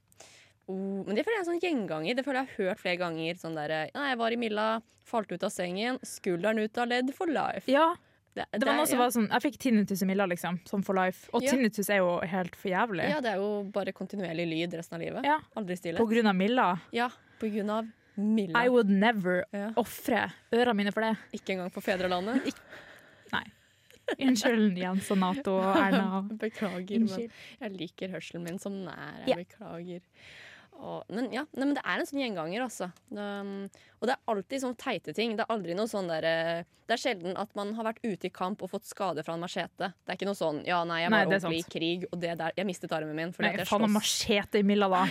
[SPEAKER 1] Oh, men det føler jeg er en sånn gjenganger. Det føler jeg har hørt flere ganger. Sånn der, ja, jeg var i Milla, falt ut av sengen, skulderen ut av ledd for life.
[SPEAKER 4] ja,
[SPEAKER 1] det,
[SPEAKER 4] det var noe som
[SPEAKER 1] ja.
[SPEAKER 4] var sånn Jeg fikk tinnitus i Milla, liksom. Sånn for life. Og
[SPEAKER 1] Ja.
[SPEAKER 4] tinnitus er jo helt for jævlig.
[SPEAKER 1] Ja, det er jo bare kontinuerlig lyd resten av livet.
[SPEAKER 4] Ja.
[SPEAKER 1] Aldri stille.
[SPEAKER 4] På grunn av Milla.
[SPEAKER 1] ja, på grunn av
[SPEAKER 4] I
[SPEAKER 1] Milla.
[SPEAKER 4] would never
[SPEAKER 1] Ja.
[SPEAKER 4] ofre ørene mine for det.
[SPEAKER 1] Ikke engang for
[SPEAKER 4] [laughs]
[SPEAKER 1] fedrelandet.
[SPEAKER 4] Unnskyld, Jens og Nato og Erna.
[SPEAKER 1] [laughs] Beklager, men
[SPEAKER 4] Unnskyld.
[SPEAKER 1] jeg liker hørselen min som den er. Jeg
[SPEAKER 4] Ja.
[SPEAKER 1] beklager. Og, men ja, nei, men det er en sånn gjenganger, altså. Um, og det er alltid sånne teite ting. Det er aldri noe sånn der, eh, Det er sjelden at man har vært ute i kamp og fått skade fra en machete. Det er ikke noe sånn 'ja, nei, jeg
[SPEAKER 4] Nei,
[SPEAKER 1] var
[SPEAKER 4] det er
[SPEAKER 1] ordentlig i krig, og det der, jeg mistet armen min fordi
[SPEAKER 4] Nei,
[SPEAKER 1] at jeg
[SPEAKER 4] faen
[SPEAKER 1] slåss'.
[SPEAKER 4] en machete i Milla, da.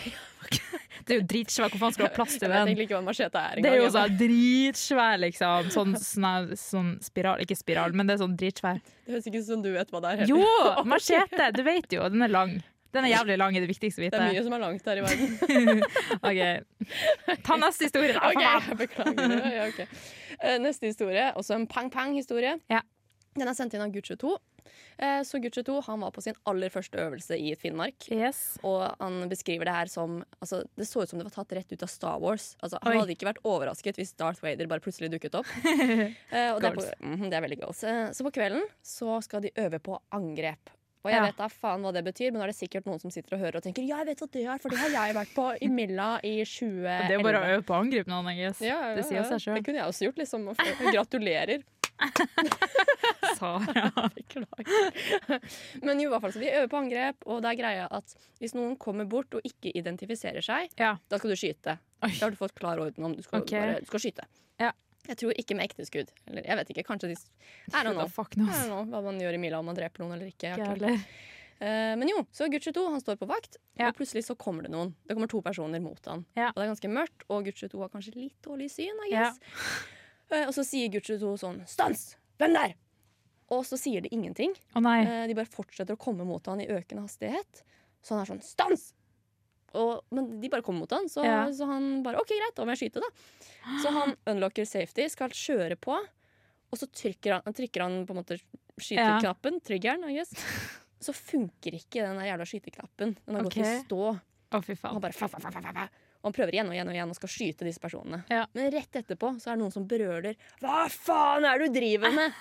[SPEAKER 4] [laughs] Det er jo dritsvær. Hvor faen skal du ha plass
[SPEAKER 1] Jeg
[SPEAKER 4] til
[SPEAKER 1] vet
[SPEAKER 4] den?
[SPEAKER 1] egentlig ikke hva en machete er
[SPEAKER 4] Det er jo
[SPEAKER 1] engang.
[SPEAKER 4] sånn dritsvær, liksom. Sånn, sånn, sånn spiral Ikke spiral, men det er sånn dritsvær.
[SPEAKER 1] Det høres ikke ut som du vet hva det er. heller. [laughs]
[SPEAKER 4] Jo, machete! Du vet jo, den er lang. Den er jævlig lang, er det viktigste å
[SPEAKER 1] Det er
[SPEAKER 4] vite.
[SPEAKER 1] mye som er langt her i verden.
[SPEAKER 4] Ok, Ta neste historie, da.
[SPEAKER 1] Ok,
[SPEAKER 4] faen.
[SPEAKER 1] jeg [laughs] beklager. Ja, ja, ok. Eh, Neste historie, også en pang-pang-historie.
[SPEAKER 4] Ja.
[SPEAKER 1] Den er sendt inn av Gucci 2. Eh, Så Gucci 2 han var på sin aller første øvelse i Finnmark.
[SPEAKER 4] Yes.
[SPEAKER 1] Og han beskriver det her som altså, Det så ut som det var tatt rett ut av Star Wars. Altså, han
[SPEAKER 4] Oi.
[SPEAKER 1] hadde ikke vært overrasket hvis Darth Vader bare plutselig dukket
[SPEAKER 4] [laughs]
[SPEAKER 1] opp. Eh, og det, er på, Mhm, det er veldig goals. Eh, Så på kvelden så skal de øve på angrep. Og jeg
[SPEAKER 4] Ja.
[SPEAKER 1] vet da faen hva det betyr, men nå er det sikkert noen som sitter og hører og tenker Ja, jeg vet hva det er, for det har jeg vært på i Milla i 2011.
[SPEAKER 4] Det er jo bare å øve på å angripe noen, I guess.
[SPEAKER 1] Eh, Ja, ja,
[SPEAKER 4] Det sier
[SPEAKER 1] ja.
[SPEAKER 4] seg
[SPEAKER 1] [laughs]
[SPEAKER 4] sjøl.
[SPEAKER 1] Det kunne jeg også gjort. Liksom. og f- Gratulerer. [laughs]
[SPEAKER 4] Sara.
[SPEAKER 1] Beklager. Men jo, i hvert fall, så de øver på angrep, og det er greia at hvis noen kommer bort og ikke identifiserer seg,
[SPEAKER 4] Ja.
[SPEAKER 1] da skal du skyte.
[SPEAKER 4] Oi.
[SPEAKER 1] Da har du fått klar orden om du skal,
[SPEAKER 4] Ok.
[SPEAKER 1] bare, du skal skyte.
[SPEAKER 4] Ja.
[SPEAKER 1] Jeg tror ikke med ekte skudd. Eller jeg vet ikke, kanskje de I
[SPEAKER 4] [laughs]
[SPEAKER 1] don't know.
[SPEAKER 4] Fuck nå,
[SPEAKER 1] I don't
[SPEAKER 4] ass.
[SPEAKER 1] know hva man gjør i mila, om man dreper noen eller ikke. Jeg har ikke-
[SPEAKER 4] Jævlig.
[SPEAKER 1] Eh, Men jo, så Gucci 2 han står på vakt,
[SPEAKER 4] Ja.
[SPEAKER 1] og plutselig så kommer det noen. Det kommer to personer mot han.
[SPEAKER 4] Ja.
[SPEAKER 1] Og det er ganske mørkt, og Gucci 2 har kanskje litt dårlig syn. I
[SPEAKER 4] Ja.
[SPEAKER 1] guess. Eh, Og så sier Gucci 2 sånn Stans! Hvem der? Og så sier de ingenting.
[SPEAKER 4] Å nei.
[SPEAKER 1] Eh, De bare fortsetter å komme mot han i økende hastighet. Så han er sånn Stans! Og, men de bare kommer mot han, så,
[SPEAKER 4] Ja.
[SPEAKER 1] så han bare OK, greit, da må jeg skyte, da. Så han
[SPEAKER 4] [gasps]
[SPEAKER 1] unlocker safety, skal kjøre på, og så trykker han, trykker han på en måte skyteknappen, triggeren,
[SPEAKER 4] [laughs]
[SPEAKER 1] I guess. Så funker ikke den der jævla skyteknappen. Den har gått i
[SPEAKER 4] Ok.
[SPEAKER 1] stå.
[SPEAKER 4] Å, fy
[SPEAKER 1] Og
[SPEAKER 4] faen.
[SPEAKER 1] han bare fa, fa, fa, fa, fa, fa. Og han prøver igjen og igjen og igjen og skal skyte disse personene.
[SPEAKER 4] Ja.
[SPEAKER 1] Men rett etterpå så er det noen som brøler 'Hva faen er det du driver
[SPEAKER 4] [laughs]
[SPEAKER 1] med?'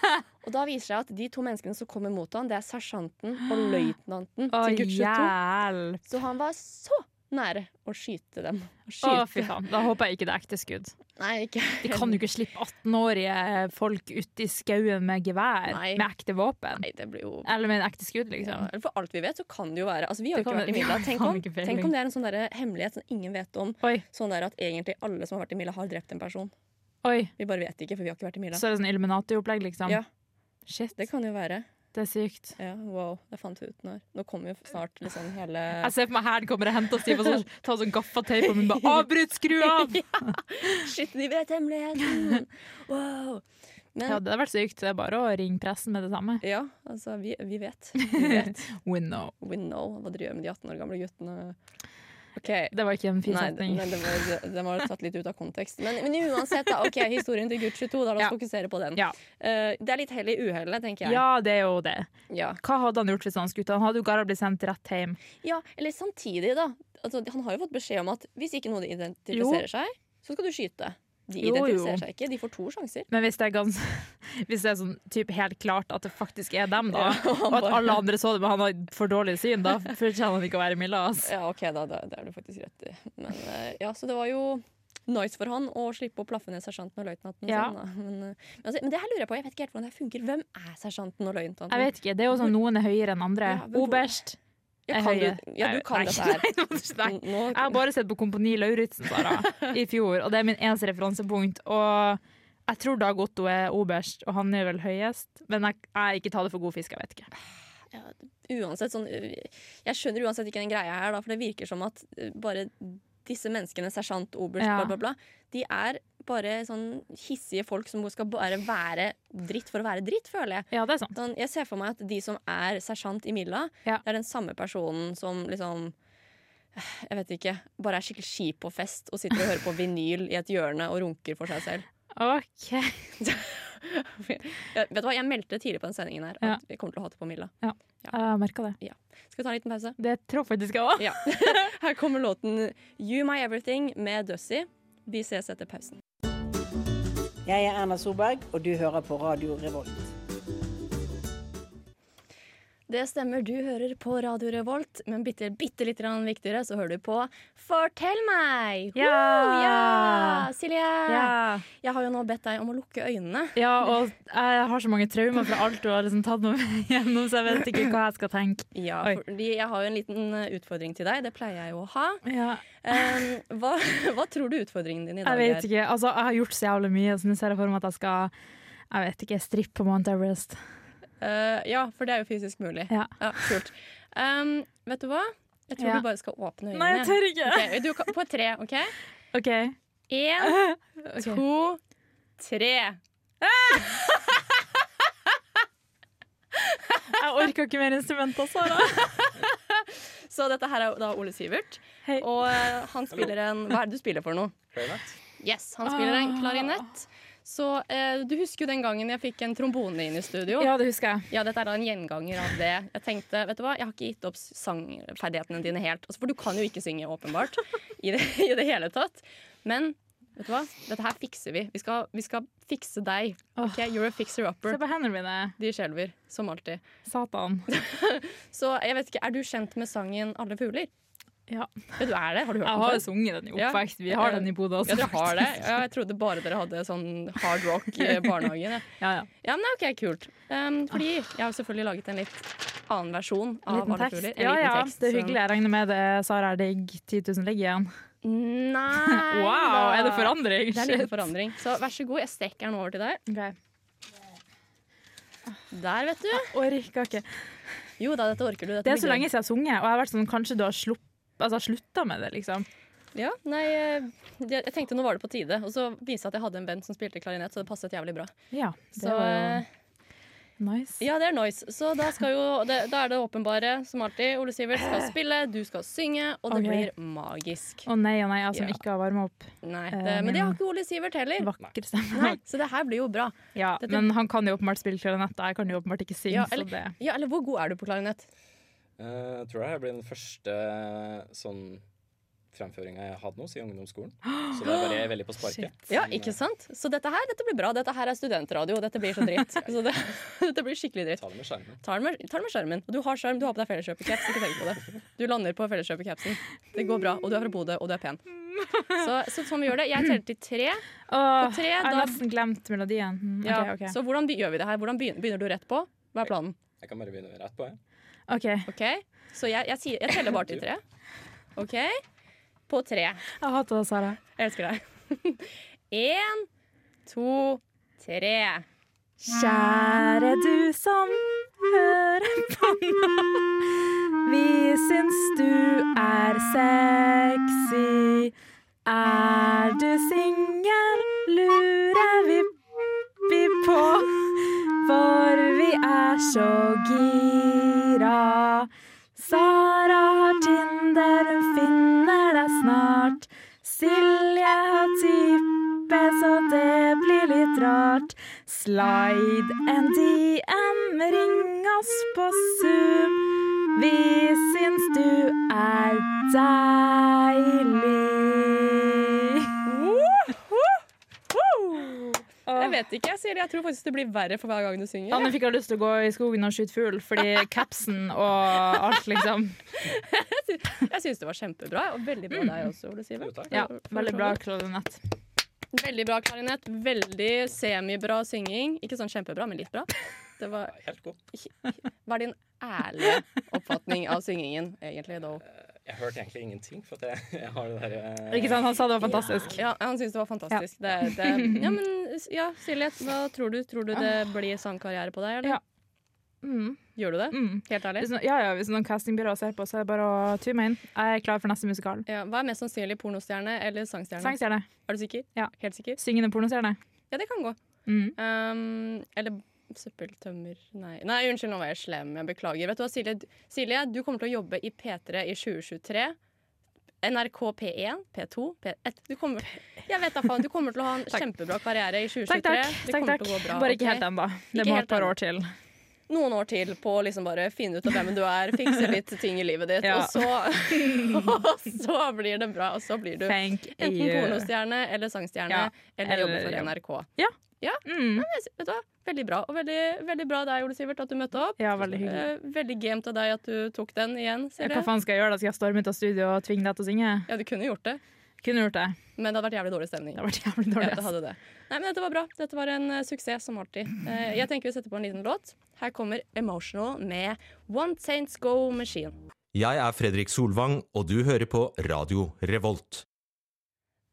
[SPEAKER 1] og da viser det seg at de to menneskene som kommer mot han, det er
[SPEAKER 4] [gasps]
[SPEAKER 1] sersjanten og løytnanten
[SPEAKER 4] Å,
[SPEAKER 1] til Gucci 2.
[SPEAKER 4] hjelp.
[SPEAKER 1] Så han var så nære å skyte dem. Å
[SPEAKER 4] Å,
[SPEAKER 1] skyte.
[SPEAKER 4] fy faen. Da håper jeg ikke det er ekte skudd.
[SPEAKER 1] Nei, ikke
[SPEAKER 4] [laughs] De kan jo ikke slippe 18-årige folk ut i skauen med gevær,
[SPEAKER 1] Nei.
[SPEAKER 4] med ekte våpen.
[SPEAKER 1] Nei, det blir jo
[SPEAKER 4] Eller med en ekte skudd,
[SPEAKER 1] ja,
[SPEAKER 4] liksom.
[SPEAKER 1] eller For alt vi vet, så kan det jo være Altså, vi har jo ikke vært i
[SPEAKER 4] Det kan være-
[SPEAKER 1] Milla.
[SPEAKER 4] vi har
[SPEAKER 1] Tenk
[SPEAKER 4] faen
[SPEAKER 1] om,
[SPEAKER 4] ikke peiling.
[SPEAKER 1] tenk om det er en sånn der hemmelighet som ingen vet om.
[SPEAKER 4] Oi,
[SPEAKER 1] Sånn der at egentlig alle som har vært i Milla, har drept en person.
[SPEAKER 4] Oi,
[SPEAKER 1] Vi bare vet ikke, for vi har ikke vært i Mila.
[SPEAKER 4] så er det sånn Illuminati-opplegg, liksom?
[SPEAKER 1] Ja.
[SPEAKER 4] Shit,
[SPEAKER 1] Det kan jo være.
[SPEAKER 4] det er sykt.
[SPEAKER 1] Ja, wow, det fant vi ut når. Nå kommer jo snart liksom [laughs] hele
[SPEAKER 4] Jeg ser for meg hæren kommer og henter Stiv og
[SPEAKER 1] [laughs]
[SPEAKER 4] sånn, tar sånn gaffateip og bare 'avbryt, skru av!'
[SPEAKER 1] Shit, de vet [laughs] hemmeligheten! Wow.
[SPEAKER 4] Ja,
[SPEAKER 1] Men
[SPEAKER 4] det hadde vært sykt. Det er bare å ringe pressen med det samme.
[SPEAKER 1] ja, altså, vi, vi [laughs] vet. Vi vet.
[SPEAKER 4] [laughs] We know.
[SPEAKER 1] We know hva dere gjør med de 18 år gamle guttene. OK.
[SPEAKER 4] Det var ikke en fin
[SPEAKER 1] Nei,
[SPEAKER 4] setning.
[SPEAKER 1] men det var, den var tatt litt ut av kontekst. Men, men uansett, da. OK, historien til Gucci 2. Da la oss
[SPEAKER 4] Ja.
[SPEAKER 1] fokusere på den.
[SPEAKER 4] Ja.
[SPEAKER 1] Eh, det er litt hell i uhellet, tenker jeg.
[SPEAKER 4] Ja, det er jo det.
[SPEAKER 1] Ja.
[SPEAKER 4] Hva hadde han gjort hvis han skulle? Han hadde jo garantert blitt sendt rett hjem.
[SPEAKER 1] Ja, eller samtidig, da. Altså, han har jo fått beskjed om at hvis ikke noen identifiserer seg, så skal du skyte. De
[SPEAKER 4] Jo, jo.
[SPEAKER 1] identifiserer seg ikke, de får to sjanser.
[SPEAKER 4] Men hvis det er, gans [laughs] hvis det er sånn, typ, helt klart at det faktisk er dem,
[SPEAKER 1] [laughs]
[SPEAKER 4] da,
[SPEAKER 1] Ja, han
[SPEAKER 4] og at
[SPEAKER 1] bare-
[SPEAKER 4] alle andre så det, men han har for dårlig syn, da fortjener han ikke å være Milla. ass.
[SPEAKER 1] Ja, OK, da, da, det er du faktisk rett i. Men eh, ja, så det var jo nice for han å slippe å plaffe ned sersjanten og løytnanten. og
[SPEAKER 4] Ja.
[SPEAKER 1] sånn, da. Men, eh, men, altså, men det her lurer jeg på, jeg vet ikke helt hvordan det her funker. Hvem er sersjanten og løytnanten?
[SPEAKER 4] Jeg vet ikke, det er jo sånn noen er høyere enn andre.
[SPEAKER 1] Ja, men hvor-
[SPEAKER 4] Oberst
[SPEAKER 1] Ja,
[SPEAKER 4] er
[SPEAKER 1] kan
[SPEAKER 4] høye.
[SPEAKER 1] du, ja, du kan
[SPEAKER 4] Nei,
[SPEAKER 1] dette her. Mm.
[SPEAKER 4] Nei, [laughs] nei, nei.
[SPEAKER 1] Nå,
[SPEAKER 4] Jeg har bare sett på Kompani Lauritzen Sara, i fjor, og det er min eneste referansepunkt. Og jeg tror Dag Otto er oberst, og han er vel høyest. Men jeg, jeg ikke tar det for god fisk, jeg vet ikke.
[SPEAKER 1] uansett sånn øh, Jeg skjønner uansett ikke den greia her, da, for det virker som at øh, bare disse menneskene, sersjant, oberst,
[SPEAKER 4] Ja.
[SPEAKER 1] bla, bla, bla, de er bare sånn hissige folk som skal bare være dritt for å være dritt, føler jeg.
[SPEAKER 4] Ja, det er sant.
[SPEAKER 1] Sånn, jeg ser for meg at de som er sersjant i Milla,
[SPEAKER 4] Ja.
[SPEAKER 1] det er den samme personen som liksom jeg vet ikke, bare er skikkelig skip på fest og sitter og hører på vinyl i et hjørne og runker for seg
[SPEAKER 4] [laughs]
[SPEAKER 1] selv.
[SPEAKER 4] OK.
[SPEAKER 1] Jeg, vet du hva, jeg meldte tidlig på den sendingen her at vi kommer til å hate på Milla.
[SPEAKER 4] Jeg merka det.
[SPEAKER 1] Skal vi ta en liten pause?
[SPEAKER 4] Det tror jeg faktisk jeg òg.
[SPEAKER 1] Ja. [laughs] Her kommer låten You My Everything med Dussy. Vi ses etter pausen.
[SPEAKER 6] Jeg er Erna Solberg, og du hører på Radio Revolt.
[SPEAKER 1] Det stemmer, du hører på Radio Revolt, men bitte, bitte litt grann viktigere så hører du på Fortell meg!
[SPEAKER 4] Ja!
[SPEAKER 1] Woo, ja! Silje!
[SPEAKER 4] Ja.
[SPEAKER 1] Jeg har jo nå bedt deg om å lukke øynene.
[SPEAKER 4] ja, og jeg har så mange traumer fra alt du har liksom tatt meg [laughs] gjennom, så jeg vet ikke hva jeg skal tenke.
[SPEAKER 1] Ja,
[SPEAKER 4] Oi.
[SPEAKER 1] fordi jeg har jo en liten eh, utfordring til deg. Det pleier jeg jo å ha.
[SPEAKER 4] Ja, [laughs]
[SPEAKER 1] Eh, hva, hva tror du utfordringen din i
[SPEAKER 4] jeg
[SPEAKER 1] dag
[SPEAKER 4] vet
[SPEAKER 1] er?
[SPEAKER 4] ikke. Altså, jeg har gjort så jævlig mye, så nå ser jeg for meg at jeg skal jeg vet ikke, strippe på Mount Everest.
[SPEAKER 1] Eh, ja, for det er jo fysisk mulig.
[SPEAKER 4] Ja.
[SPEAKER 1] kult. Um, vet du hva? Jeg tror
[SPEAKER 4] Ja.
[SPEAKER 1] du bare skal åpne øynene.
[SPEAKER 4] Nei, jeg tør ikke!
[SPEAKER 1] Ok, du kan, på tre,
[SPEAKER 4] [laughs]
[SPEAKER 1] OK?
[SPEAKER 4] OK.
[SPEAKER 1] Én,
[SPEAKER 4] Ok.
[SPEAKER 1] to, tre.
[SPEAKER 4] Jeg orker ikke mer altså. instrumenter, Sara.
[SPEAKER 1] Så dette her er da Ole Sivert.
[SPEAKER 4] Hei.
[SPEAKER 1] Og eh, han spiller en Hva er det du spiller for noe? Klarinett. Yes, han spiller en
[SPEAKER 4] Ah.
[SPEAKER 1] klarinett. Så eh, du husker jo den gangen jeg fikk en trombone inn i studio?
[SPEAKER 4] [laughs] Ja, det husker jeg.
[SPEAKER 1] Ja, dette er da en gjenganger av det. Jeg tenkte, vet du hva, jeg har ikke gitt opp sangferdighetene dine helt. Altså, for du kan jo ikke synge,
[SPEAKER 4] [laughs]
[SPEAKER 1] åpenbart. I det, i det hele tatt. Men vet du hva, dette her fikser vi. Vi skal, vi skal fikse deg. Ok, You're a
[SPEAKER 4] Se
[SPEAKER 1] fixer-upper.
[SPEAKER 4] på hendene mine.
[SPEAKER 1] De skjelver, som alltid.
[SPEAKER 4] Satan.
[SPEAKER 1] Så jeg vet ikke, Er du kjent med sangen 'Alle fugler'?
[SPEAKER 4] Ja.
[SPEAKER 1] Ja, du er det? Har du hørt
[SPEAKER 4] Jeg
[SPEAKER 1] den
[SPEAKER 4] har
[SPEAKER 1] før?
[SPEAKER 4] jo sunget den i
[SPEAKER 1] Ja.
[SPEAKER 4] oppvekst. Vi har den i Bodø altså. også.
[SPEAKER 1] Ja, dere har det?
[SPEAKER 4] faktisk.
[SPEAKER 1] Ja, jeg trodde bare dere hadde sånn hard rock i
[SPEAKER 4] [laughs]
[SPEAKER 1] barnehagen. jeg.
[SPEAKER 4] Ja, ja.
[SPEAKER 1] Ja, men det er ok, kult. Um, fordi jeg har jo selvfølgelig laget en litt annen versjon av
[SPEAKER 4] Ah. Liten
[SPEAKER 1] Alle
[SPEAKER 4] tekst.
[SPEAKER 1] fugler. En
[SPEAKER 4] Ja,
[SPEAKER 1] liten
[SPEAKER 4] ja.
[SPEAKER 1] tekst,
[SPEAKER 4] Det er
[SPEAKER 1] så-
[SPEAKER 4] hyggelig. Jeg regner med det. Sara er digg. 10 000 ligger igjen. [laughs]
[SPEAKER 1] Nei
[SPEAKER 4] Wow,
[SPEAKER 1] da.
[SPEAKER 4] er det forandring?
[SPEAKER 1] Det er en liten
[SPEAKER 4] Shit.
[SPEAKER 1] forandring. Så vær så god, jeg strekker den over til deg.
[SPEAKER 4] Ok.
[SPEAKER 1] Der, vet du.
[SPEAKER 4] Orker ikke.
[SPEAKER 1] Jo da, dette orker du. Dette
[SPEAKER 4] Ah. Det er så
[SPEAKER 1] blir
[SPEAKER 4] lenge siden jeg har sunget, og jeg har vært sånn kanskje du har slupp, altså, slutta med det, liksom.
[SPEAKER 1] gøy. Ja, nei, eh, jeg jeg tenkte nå var det på tide. Og så viste det at jeg hadde en venn som spilte klarinett, så det passet jævlig bra.
[SPEAKER 4] Ja, det
[SPEAKER 1] Så,
[SPEAKER 4] var jo
[SPEAKER 1] eh,
[SPEAKER 4] nice.
[SPEAKER 1] ja, det er noise. Så da, skal jo, det, da er det åpenbare, som alltid. Ole Sivert
[SPEAKER 4] [clears throat]
[SPEAKER 1] skal spille, du skal synge, og det
[SPEAKER 4] Ok.
[SPEAKER 1] blir magisk.
[SPEAKER 4] Å nei og nei, jeg som
[SPEAKER 1] Ja.
[SPEAKER 4] ikke har varma opp.
[SPEAKER 1] Nei,
[SPEAKER 4] Eh,
[SPEAKER 1] det, men det har ikke Ole Sivert heller.
[SPEAKER 4] Vakker stemme.
[SPEAKER 1] Nei, så det her blir jo bra.
[SPEAKER 4] [laughs] Ja,
[SPEAKER 1] Dette-
[SPEAKER 4] men han kan jo åpenbart spille klarinett, og jeg kan jo åpenbart ikke synge,
[SPEAKER 1] Ja,
[SPEAKER 4] så det
[SPEAKER 1] Ja, eller hvor god er du på klarinett?
[SPEAKER 7] Eh, Jeg tror det her blir den første sånn fremføringa jeg hadde hos i ungdomsskolen. Så det er bare veldig på sparket.
[SPEAKER 1] Ja, ikke sant? Så dette her dette blir bra. Dette her er studentradio, og dette blir så
[SPEAKER 4] [laughs]
[SPEAKER 1] dritt. Så det, [laughs] dette blir skikkelig dritt.
[SPEAKER 7] Ta det med skjermen.
[SPEAKER 1] Ta den med, ta den med skjermen. Og du har skjerm, du har på deg felleskjøpercaps. Ikke tenk på det. Du lander på felleskjøpercapsen. Det går bra. Og du er fra Bodø, og du er
[SPEAKER 4] [laughs]
[SPEAKER 1] pen. Så, så sånn vi gjør det. Jeg teller til tre.
[SPEAKER 4] Åh,
[SPEAKER 1] På tre,
[SPEAKER 4] jeg har
[SPEAKER 1] da-
[SPEAKER 4] nesten glemt melodien. Mm,
[SPEAKER 1] Ja,
[SPEAKER 4] ok, ok.
[SPEAKER 1] Så hvordan be- gjør vi det her? Hvordan begynner, begynner du rett på? Hva er planen?
[SPEAKER 7] Jeg kan bare begynne rett på. jeg.
[SPEAKER 4] Ok.
[SPEAKER 1] OK? Så jeg, jeg, sier, jeg teller bare til tre. OK? På tre.
[SPEAKER 4] Jeg hater det, Sara.
[SPEAKER 1] [laughs] Jeg elsker deg. Én, to, tre.
[SPEAKER 4] Kjære du som hører på nå. Vi syns du er sexy. Er du singel, lurer vi, vi på. For vi er så gira. Sara har Tinder, hun finner deg snart. Silje har type, så det blir litt rart. Slide en DM, ring oss på Zoom. Vi syns du er deilig.
[SPEAKER 1] Jeg vet ikke, jeg sier det. Jeg tror faktisk det blir verre for hver gang du synger.
[SPEAKER 4] Anne fikk lyst til å gå i skogen og skyte fugl, fordi
[SPEAKER 1] [laughs]
[SPEAKER 4] capsen og alt, liksom.
[SPEAKER 1] Jeg syns det var kjempebra, og veldig bra deg også, Ole Siver.
[SPEAKER 7] Jo, takk.
[SPEAKER 4] Mm. Ja, Veldig bra klarinett.
[SPEAKER 1] Veldig bra klarinett. Veldig semibra synging. Ikke sånn kjempebra, men litt bra. Det var,
[SPEAKER 7] Helt god.
[SPEAKER 1] var din ærlige oppfatning av syngingen, egentlig, da?
[SPEAKER 7] Jeg hørte egentlig ingenting, for at jeg, [laughs] jeg har det der eh,
[SPEAKER 4] Ikke sant? Han sa det var fantastisk.
[SPEAKER 1] Ja, han syns det var fantastisk. Det, det,
[SPEAKER 4] [laughs]
[SPEAKER 1] ja, men ja, Silje, hva tror du? Tror du det blir sangkarriere på deg, eller?
[SPEAKER 4] Ah. Ja. Mm,
[SPEAKER 1] Gjør du det?
[SPEAKER 4] mm.
[SPEAKER 1] Helt ærlig?
[SPEAKER 4] Hvis, no, ja, ja, hvis noen castingbyråer ser på, så er det bare å tue meg inn. Jeg er klar for neste musikal.
[SPEAKER 1] Ja, hva er mest sannsynlig? Pornostjerne eller sangstjerne?
[SPEAKER 4] Sangstjerne.
[SPEAKER 1] Er du sikker?
[SPEAKER 4] Ja.
[SPEAKER 1] Helt sikker?
[SPEAKER 4] Syngende pornostjerne.
[SPEAKER 1] Ja, det kan gå.
[SPEAKER 4] Mm.
[SPEAKER 1] Um, eller søppeltømmer Nei. Nei, unnskyld, nå var jeg slem. Jeg beklager. Vet du hva, Silje? Du- Silje, du kommer til å jobbe i P3 i 2023. NRK P1, P2, P1 du kommer, Jeg vet da faen. Du kommer til å ha
[SPEAKER 4] [laughs]
[SPEAKER 1] en kjempebra karriere i 2023.
[SPEAKER 4] Takk, takk.
[SPEAKER 1] Det
[SPEAKER 4] takk,
[SPEAKER 1] kommer
[SPEAKER 4] takk.
[SPEAKER 1] til å gå bra.
[SPEAKER 4] Bare ikke
[SPEAKER 1] ok?
[SPEAKER 4] helt ennå. Det
[SPEAKER 1] Ikke
[SPEAKER 4] må
[SPEAKER 1] helt
[SPEAKER 4] et par
[SPEAKER 1] ennå.
[SPEAKER 4] år til.
[SPEAKER 1] Noen år til på å liksom bare finne ut av hvem du er,
[SPEAKER 4] [laughs]
[SPEAKER 1] fikse litt ting i livet ditt,
[SPEAKER 4] Ja.
[SPEAKER 1] og, så, [laughs] og så blir det bra. Og så blir du
[SPEAKER 4] Thank
[SPEAKER 1] enten
[SPEAKER 4] you.
[SPEAKER 1] pornostjerne eller sangstjerne
[SPEAKER 4] Ja,
[SPEAKER 1] eller jobbe
[SPEAKER 4] eller
[SPEAKER 1] for
[SPEAKER 4] jobb.
[SPEAKER 1] NRK.
[SPEAKER 4] Mm.
[SPEAKER 1] Jeg sy- Vet du hva? Veldig bra. Og veldig, veldig bra av deg, Ole Sivert, at du møtte opp.
[SPEAKER 4] Ja, veldig hyggelig.
[SPEAKER 1] Eh, veldig gamet av deg at du tok den igjen,
[SPEAKER 4] Hva
[SPEAKER 1] Silje.
[SPEAKER 4] faen skal jeg gjøre da? Skal jeg storme ut av studio og tvinge deg til å synge?
[SPEAKER 1] Ja, du kunne gjort det,
[SPEAKER 4] Kunne gjort det.
[SPEAKER 1] men det hadde vært jævlig dårlig stemning.
[SPEAKER 4] Det har vært jævlig
[SPEAKER 1] Ja,
[SPEAKER 4] dårlig.
[SPEAKER 1] det
[SPEAKER 4] ass.
[SPEAKER 1] hadde det. Nei, men dette var bra. Dette var en eh, suksess som alltid. Eh, jeg tenker vi setter på en liten låt. Her kommer 'Emotional' med One Saints Go Machine.
[SPEAKER 8] Jeg er Fredrik Solvang, og du hører på Radio Revolt.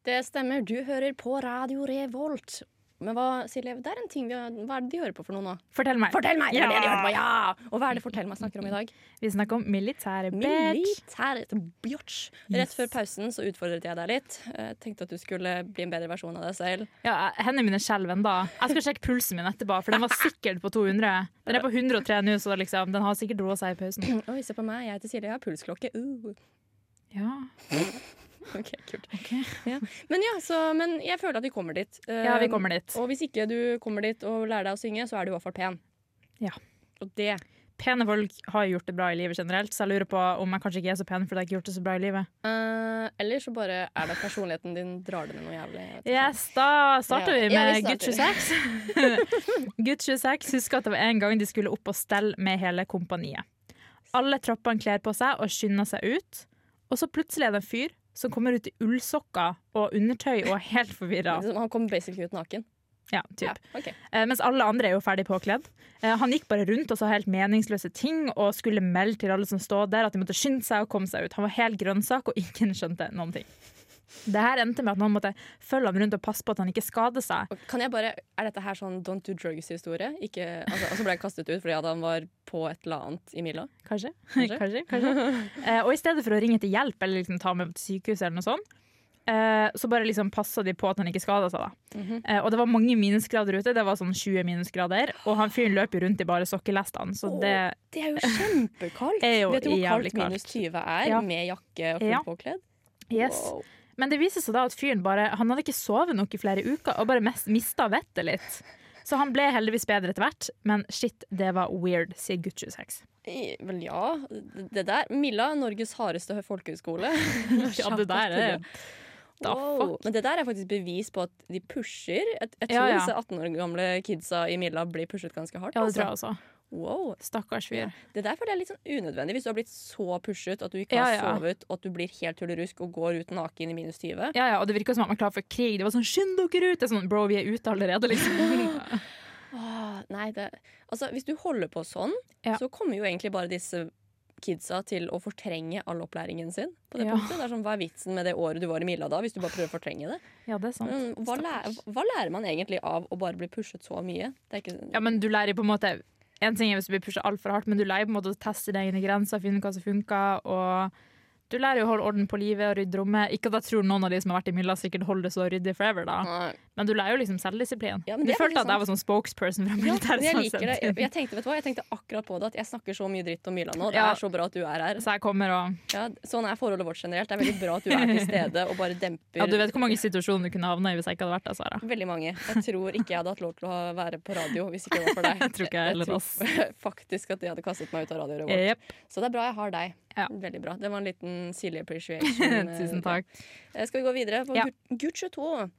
[SPEAKER 1] Det stemmer, du hører på Radio Revolt. Men hva, Silje, det er en ting vi har, hva er det de hører på for noe nå?
[SPEAKER 4] Fortell meg.
[SPEAKER 1] Fortell meg! Det er det de
[SPEAKER 4] Ja.
[SPEAKER 1] hører på, ja! Og hva er det Fortell meg snakker om i dag?
[SPEAKER 4] Vi snakker om militære bitch.
[SPEAKER 1] Militæret bjotch. Rett før pausen så utfordret jeg deg litt. Eh, tenkte at du skulle bli en bedre versjon av deg selv.
[SPEAKER 4] Ja, hendene mine skjelver ennå. Jeg skal sjekke pulsen min etterpå, for den var sikkert på 200. Den er på 103 nå, så liksom, den har sikkert roa seg i pausen.
[SPEAKER 1] Mm, Oi, se på meg, jeg heter Silje, jeg har pulsklokke. Uh. [laughs]
[SPEAKER 4] Ja,
[SPEAKER 1] Ok, kult.
[SPEAKER 4] Ok.
[SPEAKER 1] Ja. Men ja, så, men jeg føler at vi kommer dit. Eh,
[SPEAKER 4] ja vi kommer dit.
[SPEAKER 1] Og hvis ikke du kommer dit og lærer deg å synge, så er du i hvert fall pen.
[SPEAKER 4] Ja.
[SPEAKER 1] Og det
[SPEAKER 4] Pene folk har gjort det bra i livet generelt, så jeg lurer på om jeg kanskje ikke er så pen fordi jeg ikke har gjort det så bra i livet.
[SPEAKER 1] eh, Eller så bare er det at personligheten din drar det ned noe jævlig. jeg vet ikke.
[SPEAKER 4] Yes, da
[SPEAKER 1] Ja.
[SPEAKER 4] starter vi
[SPEAKER 1] Ja, vi
[SPEAKER 4] med Gutt 26. [laughs] Gutt 26 husker at det var en gang de skulle opp og stelle med hele kompaniet. Alle troppene kler på seg og skynder seg ut, og så plutselig er det en fyr som kommer ut i ullsokker og undertøy og er helt forvirra.
[SPEAKER 1] Liksom, Han kom basically ut naken.
[SPEAKER 4] Ja, typ.
[SPEAKER 1] Ja, ok.
[SPEAKER 4] Eh, mens alle andre er jo ferdig påkledd. Eh, han gikk bare rundt og sa helt meningsløse ting og skulle melde til alle som stod der at de måtte skynde seg og komme seg ut. Han var helt grønnsak, og ingen skjønte noen ting. Det her endte med at noen måtte følge ham rundt og passe på at han ikke skadet seg.
[SPEAKER 1] Og Kan jeg bare, Er dette her sånn Don't do drugs-historie? Ikke, altså, og så ble han kastet ut fordi at han var på et eller annet i Mila?
[SPEAKER 4] [laughs] Kanskje.
[SPEAKER 1] Kanskje.
[SPEAKER 4] Kanskje, kanskje. Eh, og i stedet for å ringe etter hjelp eller liksom ta med til sykehuset, eller noe sånt, eh, så bare liksom passa de på at han ikke skada seg. Da. eh, og det var mange minusgrader ute, det var sånn 20 minusgrader. Og han fyren løp jo rundt i bare sokkelestene, så
[SPEAKER 1] Åh.
[SPEAKER 4] det
[SPEAKER 1] Det er jo
[SPEAKER 4] [laughs]
[SPEAKER 1] kjempekaldt!
[SPEAKER 4] Er jo
[SPEAKER 1] Vet du hvor
[SPEAKER 4] jævlig
[SPEAKER 1] kaldt
[SPEAKER 4] kaldt.
[SPEAKER 1] minus 20 er
[SPEAKER 4] Ja.
[SPEAKER 1] med jakke og fullt
[SPEAKER 4] Ja.
[SPEAKER 1] påkledd?
[SPEAKER 4] Yes.
[SPEAKER 1] Wow.
[SPEAKER 4] Men det viser seg da at fyren bare Han hadde ikke sovet nok i flere uker og bare mest, mista vettet litt. Så han ble heldigvis bedre etter hvert, men shit, det var weird, sier gutt 26.
[SPEAKER 1] I- Eh, Vel, ja. Det- Det der Milla, Norges hardeste
[SPEAKER 4] [laughs]
[SPEAKER 1] folkehøyskole.
[SPEAKER 4] Ja, det der er- Da
[SPEAKER 1] Wow. Men det der er faktisk bevis på at de pusher. Jeg, jeg tror
[SPEAKER 4] Ja, ja.
[SPEAKER 1] disse 18 år gamle kidsa i Milla blir pushet ganske hardt.
[SPEAKER 4] Ja, det
[SPEAKER 1] altså.
[SPEAKER 4] tror jeg også.
[SPEAKER 1] Wow.
[SPEAKER 4] Stakkars fyr.
[SPEAKER 1] Det der føler jeg er litt sånn unødvendig. Hvis du har blitt så pushet at du ikke
[SPEAKER 4] Ja,
[SPEAKER 1] har
[SPEAKER 4] ja.
[SPEAKER 1] sovet, og at du blir helt tullerusk og går ut naken i minus 20.
[SPEAKER 4] Ja, ja, og det virka som han var klar for krig. Det var sånn 'skynd dere ut'! Det er sånn, Bro, vi er ute allerede, liksom.
[SPEAKER 1] Åh, nei, det, Ah, altså, hvis du holder på sånn,
[SPEAKER 4] Ja.
[SPEAKER 1] så kommer jo egentlig bare disse kidsa til å fortrenge all opplæringen sin. På det
[SPEAKER 4] Ja.
[SPEAKER 1] punktet. Det er sånn, Hva er vitsen med det året du var i Milla da, hvis du bare prøver å fortrenge det?
[SPEAKER 4] [laughs] Ja, det er sant.
[SPEAKER 1] Mm, Hva, læ hva lærer man egentlig av å bare bli pushet så mye? Det er ikke,
[SPEAKER 4] Ja, men du lærer på en måte En ting er hvis du blir pusha altfor hardt, men du lærer på en måte å teste dine egne grenser, finne ut hva som funker, og du lærer jo å holde orden på livet og rydde rommet. Ikke at jeg tror noen av de som har vært i mylla, sikkert holder det så ryddig forever, da.
[SPEAKER 1] Nei.
[SPEAKER 4] Men du lærer jo liksom selvdisiplin.
[SPEAKER 1] Ja, men
[SPEAKER 4] du
[SPEAKER 1] det er
[SPEAKER 4] følte
[SPEAKER 1] faktisk
[SPEAKER 4] at jeg var sånn spokesperson fra
[SPEAKER 1] Ja,
[SPEAKER 4] militæret.
[SPEAKER 1] men jeg liker
[SPEAKER 4] som
[SPEAKER 1] det.
[SPEAKER 4] sendt
[SPEAKER 1] Jeg,
[SPEAKER 4] inn.
[SPEAKER 1] jeg tenkte vet du hva, jeg tenkte akkurat på det at jeg snakker så mye dritt om Mila nå. Det
[SPEAKER 4] Ja.
[SPEAKER 1] er så bra at du er her.
[SPEAKER 4] Så jeg kommer og
[SPEAKER 1] Ja, sånn er forholdet vårt generelt. Det er veldig bra at du er til stede og bare demper
[SPEAKER 4] Ja, du vet hvor mange situasjoner du kunne havna i hvis jeg ikke hadde vært der, Sara.
[SPEAKER 1] veldig mange. Jeg tror ikke jeg hadde hatt lov til å ha- være på radio hvis ikke det var for deg.
[SPEAKER 4] [laughs] Jeg tror ikke jeg heller,
[SPEAKER 1] tror [laughs] faktisk at de hadde kastet meg ut av radioen vår.
[SPEAKER 4] Jepp.
[SPEAKER 1] Så det er bra jeg har deg.
[SPEAKER 4] Ja.
[SPEAKER 1] Veldig bra. Det var en liten Silje appreciation.
[SPEAKER 4] [laughs] Tusen takk.
[SPEAKER 1] Eh, Skal vi gå videre på
[SPEAKER 4] Ja.
[SPEAKER 1] Gut- Gucci 2?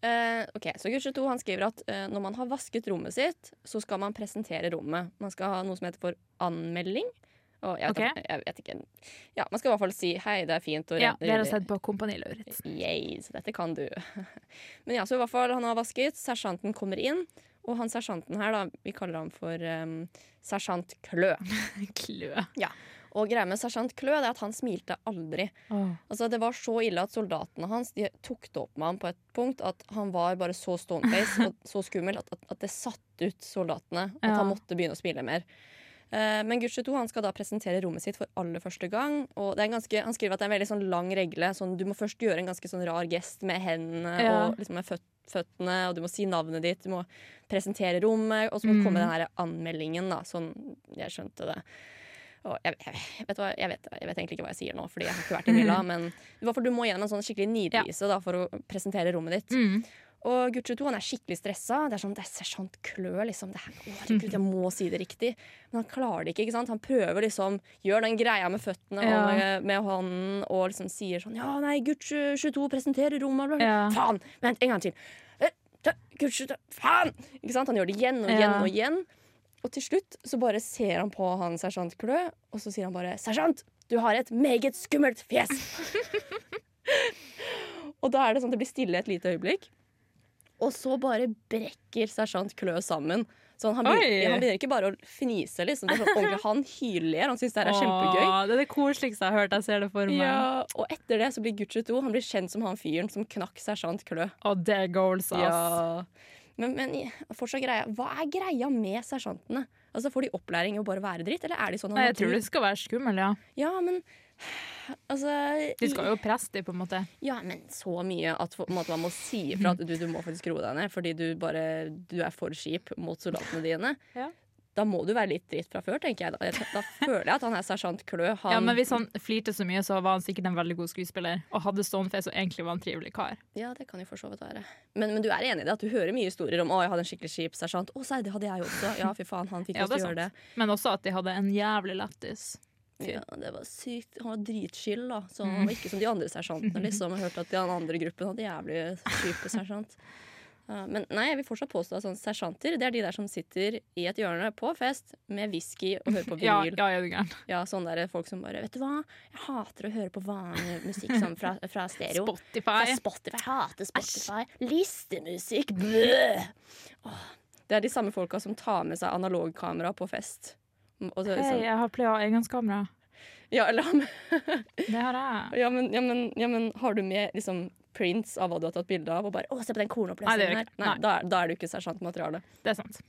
[SPEAKER 1] Eh, ok, så Gucci 2 han skriver at eh, når man har vasket rommet sitt, så skal man presentere rommet. Man skal ha noe som heter for anmelding. Og jeg, vet,
[SPEAKER 4] Ok.
[SPEAKER 1] jeg, vet ikke Ja, Man skal i hvert fall si 'hei, det er fint'. Og
[SPEAKER 4] Ja,
[SPEAKER 1] redd-
[SPEAKER 4] dere har sett på Kompani Lauritzen. [laughs]
[SPEAKER 1] Yay, så dette kan du. [laughs] Men ja, så i hvert fall han har vasket, sersjanten kommer inn. Og han sersjanten her, da, vi kaller han for eh, sersjant Klø.
[SPEAKER 4] Klø.
[SPEAKER 1] Og greia med sersjant Klø det er at han smilte aldri.
[SPEAKER 4] Åh.
[SPEAKER 1] Altså, det var så ille at soldatene hans de tok det opp med ham på et punkt at han var bare så stoneface og så skummel at, at, at det satte ut soldatene. At
[SPEAKER 4] Ja.
[SPEAKER 1] han måtte begynne å smile mer. Eh, Men Gucci 2 han skal da presentere rommet sitt for aller første gang. Og det er en ganske, han skriver at det er en veldig sånn lang regle. Sånn, du må først gjøre en ganske sånn rar gest med hendene
[SPEAKER 4] Ja.
[SPEAKER 1] og liksom med føt, føttene. Og du må si navnet ditt, du må presentere rommet, og så må det komme
[SPEAKER 4] Mm.
[SPEAKER 1] den her anmeldingen. Da, sånn jeg skjønte det. Og jeg, jeg, vet hva, jeg, vet, jeg vet egentlig ikke hva jeg sier nå, Fordi jeg har ikke vært i Milla.
[SPEAKER 4] Mm.
[SPEAKER 1] Men i hvert fall du må gjennom en sånn skikkelig nidvise da, for å presentere rommet ditt.
[SPEAKER 4] Mm.
[SPEAKER 1] Og Gucci 2 han er skikkelig stressa. Det er sånn, det er sersjant Klø, liksom. Det er, å, herregud, jeg må si det riktig. Men han klarer det ikke. ikke sant? Han prøver liksom, gjør den greia med føttene
[SPEAKER 4] Ja.
[SPEAKER 1] og med, med hånden og liksom sier sånn Ja, nei, Gucci 22 presenterer rommet.
[SPEAKER 4] Ja.
[SPEAKER 1] Faen! Vent, en gang til. Eh, da, Gucci 22, faen! Ikke sant? Han gjør det igjen og
[SPEAKER 4] Ja.
[SPEAKER 1] igjen og igjen. Og til slutt så bare ser han på han sersjant Klø, og så sier han bare 'Sersjant, du har et meget skummelt fjes'. [laughs] og da er det sånn at det blir stille et lite øyeblikk, og så bare brekker sersjant Klø sammen. Så han, han,
[SPEAKER 4] Oi!
[SPEAKER 1] begynner, han begynner ikke bare å fnise, liksom. Det er
[SPEAKER 4] [laughs]
[SPEAKER 1] sånn, ordentlig, han hyler. Han syns det her er kjempegøy.
[SPEAKER 4] Åh, Det er det koseligste jeg har hørt. Jeg ser det for meg.
[SPEAKER 1] Ja, og etter det så blir Gucci 2 Han blir kjent som han fyren som knakk sersjant Klø.
[SPEAKER 4] Og det er goals, ass.
[SPEAKER 1] Ja. Men, men i- fortsatt greia Hva er greia med sersjantene? Altså, Får de opplæring i å bare være dritt, eller er de sånn av
[SPEAKER 4] Nei, jeg tror
[SPEAKER 1] natur?
[SPEAKER 4] de skal være skumle, ja.
[SPEAKER 1] Ja, men Altså
[SPEAKER 4] De skal jo presse dem, på en måte.
[SPEAKER 1] Ja, men så mye at på en måte, man må si ifra at du, du må faktisk roe deg ned, fordi du bare Du er for skip mot soldatene dine.
[SPEAKER 4] Ja.
[SPEAKER 1] Da må du være litt dritt fra før, tenker jeg. Da, jeg, da føler jeg at han er sersjant Klø. Han,
[SPEAKER 4] Ja, men Hvis han flirte så mye, så var han sikkert en veldig god skuespiller. Og hadde stoneface og egentlig var en trivelig kar.
[SPEAKER 1] Ja, det kan jo for så vidt være. Men, men du er enig i det at du hører mye historier om 'Å, jeg hadde en skikkelig kjip sersjant'. 'Å, sei, det hadde jeg også'. Ja, fy faen, han fikk
[SPEAKER 4] Ja,
[SPEAKER 1] oss til
[SPEAKER 4] det
[SPEAKER 1] å
[SPEAKER 4] er
[SPEAKER 1] gjøre det.
[SPEAKER 4] Men også at de hadde en jævlig lættis. Fy.
[SPEAKER 1] Ja, det var sykt. Han var dritskyld, da. Så
[SPEAKER 4] Mm.
[SPEAKER 1] han var ikke som de andre sersjantene, liksom. Jeg hørte at den andre gruppen hadde jævlig kjipe sersjant. Ja, Men nei, jeg vil fortsatt påstå at sånne sersjanter Det er de der som sitter i et hjørne på fest med whisky og hører på
[SPEAKER 4] Ja,
[SPEAKER 1] vinyl.
[SPEAKER 4] ja, er du gæren.
[SPEAKER 1] Ja, sånne der folk som bare Vet du hva, jeg hater å høre på vanlig musikk sånn fra, fra stereo. Fra
[SPEAKER 4] Spotify.
[SPEAKER 1] Spotify. Jeg hater Spotify. Listemusikk. Bløh! Åh, Det er de samme folka som tar med seg analogkamera på fest. Og så,
[SPEAKER 4] Hei,
[SPEAKER 1] sånn,
[SPEAKER 4] jeg har playa engangskamera.
[SPEAKER 1] ja, eller han
[SPEAKER 4] Det har jeg.
[SPEAKER 1] Ja, men, ja, men, ja, men har du med liksom, prints av hva du har tatt bilde av, og bare 'Å, se på den
[SPEAKER 4] Nei, det gjør
[SPEAKER 1] kornoppleseren
[SPEAKER 4] jeg
[SPEAKER 1] her'?
[SPEAKER 4] ikke.
[SPEAKER 1] Nei,
[SPEAKER 4] Nei.
[SPEAKER 1] da, er- da er du ikke sersjantmateriale.
[SPEAKER 4] Det er sant.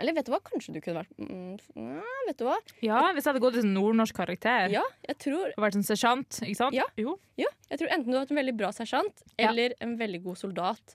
[SPEAKER 1] Eller vet du hva, kanskje du kunne vært mm, ja, Vet du hva?
[SPEAKER 4] Ja, Hvis jeg hadde gått i sånn nordnorsk karakter
[SPEAKER 1] Ja, jeg tror,
[SPEAKER 4] og vært sånn sersjant, ikke sant?
[SPEAKER 1] Ja.
[SPEAKER 4] Jo.
[SPEAKER 1] ja, jeg tror enten du har vært en veldig bra sersjant
[SPEAKER 4] Ja.
[SPEAKER 1] eller en veldig god soldat.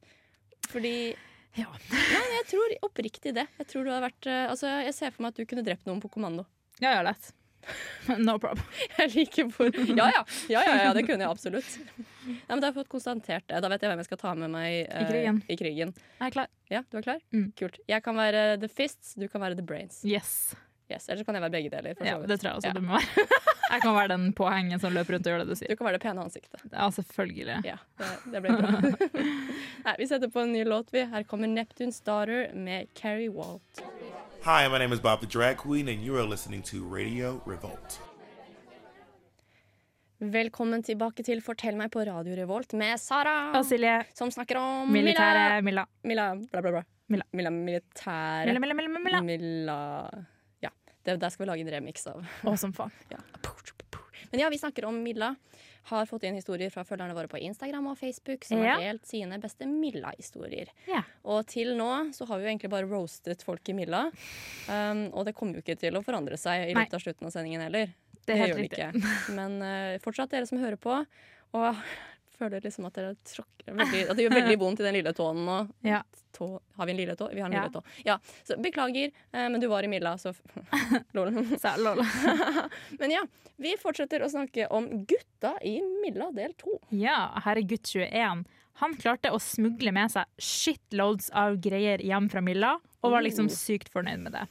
[SPEAKER 1] Fordi
[SPEAKER 4] Ja.
[SPEAKER 1] Nei, jeg tror oppriktig det. Jeg tror du hadde vært eh, Altså, jeg ser for meg at du kunne drept noen på kommando. [laughs]
[SPEAKER 4] Ja, ja, lett. [laughs] No problem.
[SPEAKER 1] Jeg liker hvor Ja ja, ja, ja, ja det kunne jeg absolutt. Nei, men da har jeg fått konstatert det. Da vet jeg hvem jeg skal ta med meg eh,
[SPEAKER 4] I krigen.
[SPEAKER 1] I krigen.
[SPEAKER 4] Jeg er klar.
[SPEAKER 1] Ja, du er klar?
[SPEAKER 4] Mm.
[SPEAKER 1] Kult. Jeg kan være the fists, du kan være the brains.
[SPEAKER 4] Yes.
[SPEAKER 1] Yes, Eller så kan jeg være begge deler. For så
[SPEAKER 4] Ja,
[SPEAKER 1] vidt.
[SPEAKER 4] det tror jeg også
[SPEAKER 1] Ja.
[SPEAKER 4] det må være. [laughs] Jeg kan være den påhengen som løper rundt og gjør det du sier.
[SPEAKER 1] Du kan være det pene ansiktet.
[SPEAKER 4] Ja, selvfølgelig.
[SPEAKER 1] Ja, det, det ble
[SPEAKER 4] [laughs]
[SPEAKER 1] bra. Nei, vi setter på en ny låt, vi. Her kommer Neptunes Daughter med Carrie Walt.
[SPEAKER 9] Hi, my name is Bob the Drag Queen, and you are listening to Radio Revolt.
[SPEAKER 1] Velkommen tilbake til Fortell meg på Radio Revolt med Sara,
[SPEAKER 4] Og Silje,
[SPEAKER 1] som snakker om
[SPEAKER 4] militære Milla.
[SPEAKER 1] Milla. Milla, bla, bla, bla.
[SPEAKER 4] Milla.
[SPEAKER 1] Milla militære.
[SPEAKER 4] Milla, Milla, Milla, Milla.
[SPEAKER 1] Milla. Ja. Det, der skal vi lage en remix av.
[SPEAKER 4] Å, som faen.
[SPEAKER 1] Ja. Men ja, vi snakker om Milla. Har fått inn historier fra følgerne våre på Instagram og Facebook som
[SPEAKER 4] Ja.
[SPEAKER 1] har delt sine beste Milla-historier.
[SPEAKER 4] Ja.
[SPEAKER 1] Og til nå så har vi jo egentlig bare roastet folk i Milla. Um, og det kommer jo ikke til å forandre seg i
[SPEAKER 4] Nei.
[SPEAKER 1] løpet av slutten av sendingen heller.
[SPEAKER 4] Det er helt
[SPEAKER 1] gjør
[SPEAKER 4] riktig. [laughs]
[SPEAKER 1] ikke. Men eh, fortsatt dere som hører på, og [laughs] føler liksom at dere tråkker veldig,
[SPEAKER 4] [laughs]
[SPEAKER 1] At det gjør veldig vondt i den lille tåen nå.
[SPEAKER 4] Ja.
[SPEAKER 1] Tå, har vi en lille tå? Vi har en
[SPEAKER 4] Ja.
[SPEAKER 1] lille tå. Ja, så beklager, eh, men du var i Milla, så [laughs] lol.
[SPEAKER 4] Så, lol.
[SPEAKER 1] Men ja, vi fortsetter å snakke om gutta i Milla del to.
[SPEAKER 4] Ja, herregutt 21. Han klarte å smugle med seg shitloads av greier hjem fra Milla, og var liksom sykt fornøyd med det.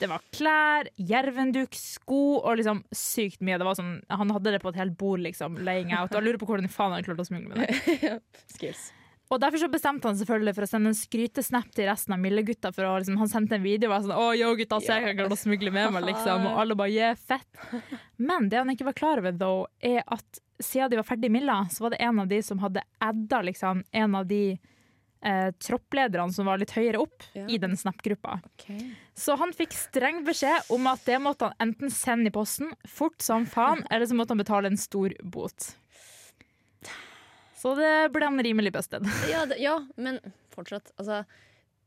[SPEAKER 4] Det var klær, jervenduk, sko og liksom sykt mye. Det var sånn, han hadde det på et helt bord, liksom, laying out. Og jeg lurer på hvordan faen han klarte å smugle med det.
[SPEAKER 1] Skills.
[SPEAKER 4] Og Derfor så bestemte han selvfølgelig for å sende en skrytesnap til resten av Mille-gutta. For å, liksom, han sendte en video og var sånn 'Å, yo, gutta, se hva jeg klarte å smugle med meg', liksom. Og alle bare 'yeah, fett'. Men det han ikke var klar over, though, er at siden de var ferdig i Milla, så var det en av de som hadde adda liksom, en av de eh, tropplederne som var litt høyere opp
[SPEAKER 1] Ja.
[SPEAKER 4] i den snap-gruppa. Så han fikk streng beskjed om at det måtte han enten sende i posten fort som faen, eller så måtte han betale en stor bot. Så det ble han rimelig busted.
[SPEAKER 1] Ja, det, ja, men fortsatt, altså